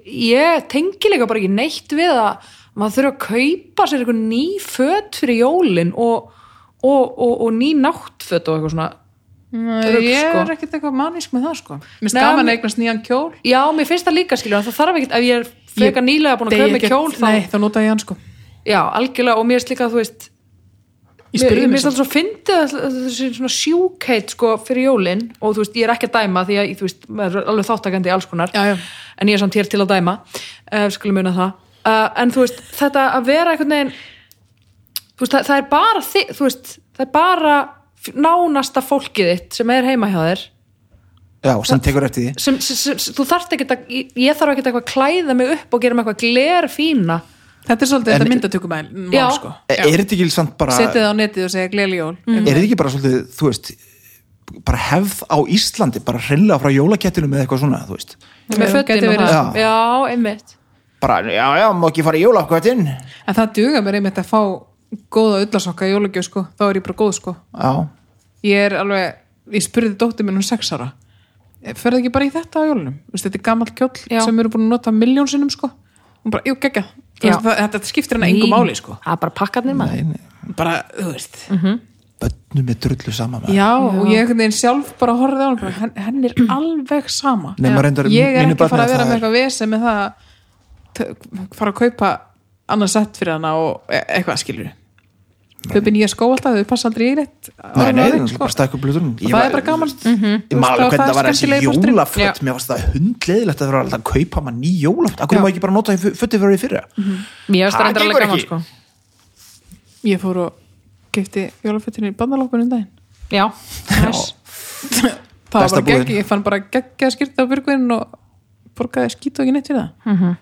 S3: ég tengi líka bara ekki neitt við að maður þurfa að kaupa sér eitthvað ný föt fyrir jólin og, og, og, og ný náttföt og eitthvað svona
S2: Rugl, ég
S3: sko.
S2: er ekkert eitthvað manísk með það sko. mér
S3: Nei,
S2: finnst gaman
S3: mér-
S2: að eignast nýjan kjól
S3: já, mér finnst það líka skilur, það þarf ekkert ef ég er frekar nýlega búin að
S2: Dey
S3: köpa mér
S2: ekkert-
S3: kjól þá,
S2: nei, þá nota ég hann sko.
S3: já, algjörlega og mér er líka, þú veist
S2: ég
S3: Mér
S2: spurði
S3: mér
S2: mig
S3: finnst alltaf svo fyndið að að þessi svona sjúkheit sko fyrir jólin og þú veist, ég er ekki að dæma því að, þú veist, maður er alveg þáttakandi í alls konar
S2: Já, já.
S3: en ég er samt hér til að dæma uh, skulum muna það uh, en þú veist, þetta að vera einhvern veginn þú veist, það, það er bara þi, þú veist, það er bara f- nánasta fólkið þitt sem er heima hjá þér
S1: já, sem tekur eftir því
S3: sem, sem, sem, sem þú þarft ekki að, ég- ég þarf ekki eitthvað að klæða mig upp og gera mig eitthvað gler fína
S2: þetta er svolítið
S1: En-
S2: þetta myndatökumæl
S3: Já.
S2: sko.
S1: er þetta ekki samt bara
S2: setja það á netið og segja gleyli jól
S3: Mm.
S1: er þetta ekki bara svolítið, þú veist bara hefð á Íslandi, bara hreinlega frá jólakettinu með eitthvað svona, þú veist
S3: með
S2: Já, gæti
S3: fötin og
S2: verið,
S1: sko.
S3: það já, einmitt
S1: bara, já, já, má ekki fara í jólakvættin já,
S2: en það duga mér einmitt að fá góða ullasokka í jólugjöf sko. þá er ég bara góð sko. ég er alveg, ég spurði dóttir minn um sex ára ferði ekki bara í þetta á jólunum Vist, þetta er gamall kjóll
S3: Já.
S2: sem við erum búin að nota miljón sinnum sko. hún bara, jú, geggja
S3: Já.
S2: þetta skiptir hana engu máli sko.
S3: það er bara pakkarnir maður
S2: bara, þú veist
S1: bönnum er drullu sama
S2: já,
S1: með
S2: og ég einhvern veginn sjálf bara horfði á hann bara, henn, henn er alveg sama
S1: Nei, maður reyndar-
S2: ég er
S1: mínu
S2: ekki að fara
S1: barni
S2: að
S1: að það
S2: vera
S1: er-
S2: með eitthvað vesen með það að t- fara að kaupa annað sett fyrir hana og e- eitthvað skilur köpi nýja skó alltaf, þau passa aldrei í rétt
S1: Nei, nei, sko.
S2: áraðið,
S1: það er bara stækku blutunum
S2: sko. Og það er bara gaman
S1: Ég maður
S2: Þú veist,
S1: hvernig
S2: og
S1: það var
S2: er
S1: þessi
S2: skemmtilegi kosturinn. Já.
S1: jólafött Mér varst það hundleðilegt að það var alltaf að kaupa maður ný jólafött Akkur
S2: Já.
S1: maður ekki bara nota í fötti fyrir í fyrra
S3: Mér finnst það
S1: Ha,
S3: reyndar alveg
S1: gengur
S3: gaman
S1: ekki.
S3: sko
S2: Ég fór og kefti jólafötinu í bandalókunum daginn.
S3: Já, næs
S2: Það var
S1: Besta
S2: bara gegg,
S1: búðin.
S2: ég fann bara gegg að skýrta á byrgvinn og borgaði skýt og ekki neitt fyrir það.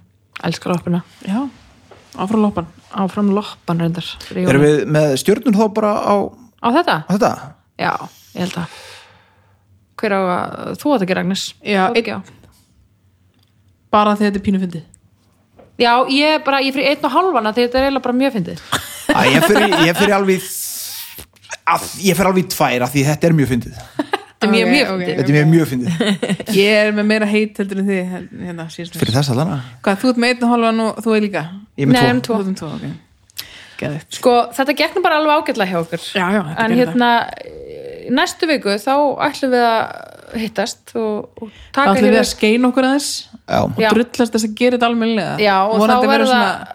S3: Elskar loppuna
S2: Já, áfram loppan.
S3: Áfram loppan reyndar fyrir jólin.
S1: Erum við með stjörnun þá bara á, á
S3: Á þetta?
S1: þetta?
S3: Já, ég held að Hver á að þú átt að gera Agnes?
S2: Já,
S3: Þú átt ekki á
S2: Bara því þetta er pínu fyndið.
S3: Já, ég bara, ég fyrir einn og hálfana því þetta er eiginlega bara mjög fyndið
S2: Ah,
S1: Æ, ég fyrir, ég fyrir alveg í- að, Ég fyrir alveg í tvær af því þetta er mjög fyndið
S3: Þetta er mjög,
S2: Ok,
S3: mjög
S2: ok.
S3: fyndið
S1: Þetta er mjög mjög fyndið
S2: Ég er með meira heit heldur en þið hel- hérna síðast mér.
S1: Fyrir þess að þarna
S2: Hvað, þú ert með einn og halvan og þú er líka?
S1: Ég er með
S3: Nei,
S1: tvo
S3: en tvo.
S2: Þú ert með tvo, ok. Geðvitt.
S3: Sko, þetta gekk nú bara alveg ágætlega hjá okkur
S2: Já, já, þetta
S3: En
S2: gerir
S3: hérna, í næstu viku þá ætlum við að hittast og, og
S2: Það
S3: taka
S2: ætlum við
S3: hér
S2: að skeina okkur aðeins og
S1: Já,
S3: Já.
S2: drullast þess að gera þetta almennilega.
S3: Já, og
S2: Vonandi
S3: þá
S2: verður
S3: verða-
S2: svona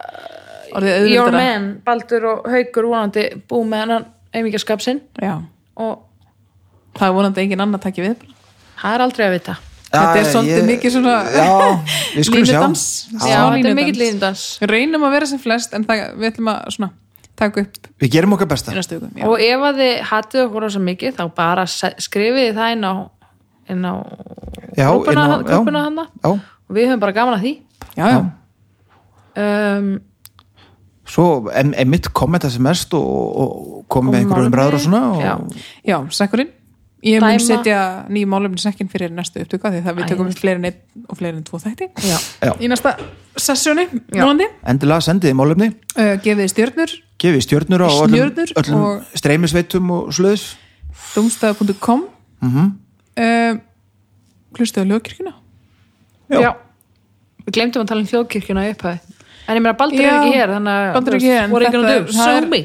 S2: orðið
S3: Your
S2: auðveldara.
S3: man, Baldur og Haukur vonandi bú með hennan einmíkjaskap sinn
S2: Já,
S3: og
S2: það er vonandi engin annar takki við bara.
S3: það er aldrei að vita
S2: Þetta er
S1: Já,
S2: svolítið
S1: ég-
S2: mikið svona
S1: Já, við skulum sjá
S2: línudans.
S3: Já,
S2: Já,
S3: þetta er
S2: línudans.
S3: mikill línudans
S2: Við reynum að vera sem flest en það, við ætlum að svona, taka upp
S1: Við gerum okkar besta
S2: í næstu viku. Já.
S3: Og ef að þið hatið okkur rosa mikið þá bara se- skrifið þið það inn á inn á
S1: Já,
S3: grúppuna
S1: inn á- já.
S3: grúppuna hana
S1: Já,
S3: og við höfum bara gaman að því
S2: já, já.
S3: um,
S1: svo em- emitt kommenta sem mest og, og komið með einhverjum umræður og svona
S3: Já.
S1: og,
S2: já sekkurinn. Ég mun
S3: Dæma.
S2: setja nýjum málefni sekkin fyrir næstu upptöku af því það við tökum
S3: Æðislegt.
S2: við fleiri en einn og fleiri en tvo þætti.
S3: Já.
S1: Já.
S2: Í næsta sessjóni,
S3: Já.
S2: vonandi,
S1: Endilega sendiði málefni
S2: uh, gefið þið stjörnur,
S1: gefið stjörnur á öllum,
S2: Stjörnur
S1: öllum
S2: og-
S1: streymisveitum og sluðis
S2: domstæða.com, uh, hlustaðu á lögkirkuna.
S1: Já.
S3: já Við glemtum að tala um þjóðkirkjuna í upphæði En ég meina Baldur
S2: Já,
S3: er ekki hér þannig að
S2: Baldur er ekki hér, en
S3: voru ekki
S2: þetta-
S3: náttúrulega
S2: það er-
S3: Sómi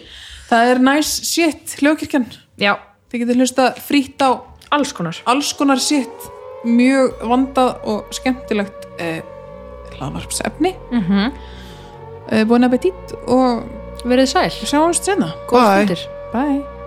S2: Það er næs nice shit, lögkirkjan.
S3: Já,
S2: Þið getur hlusta frítt á
S3: alls konar
S2: alls konar sitt mjög vandað og skemmtilegt eh, hlaðvarpsefni mm -hmm. eh, Bon appetit og
S3: Verið sæl,
S2: sjáumst senna
S3: góð
S1: Bye.
S3: stundir
S2: Bye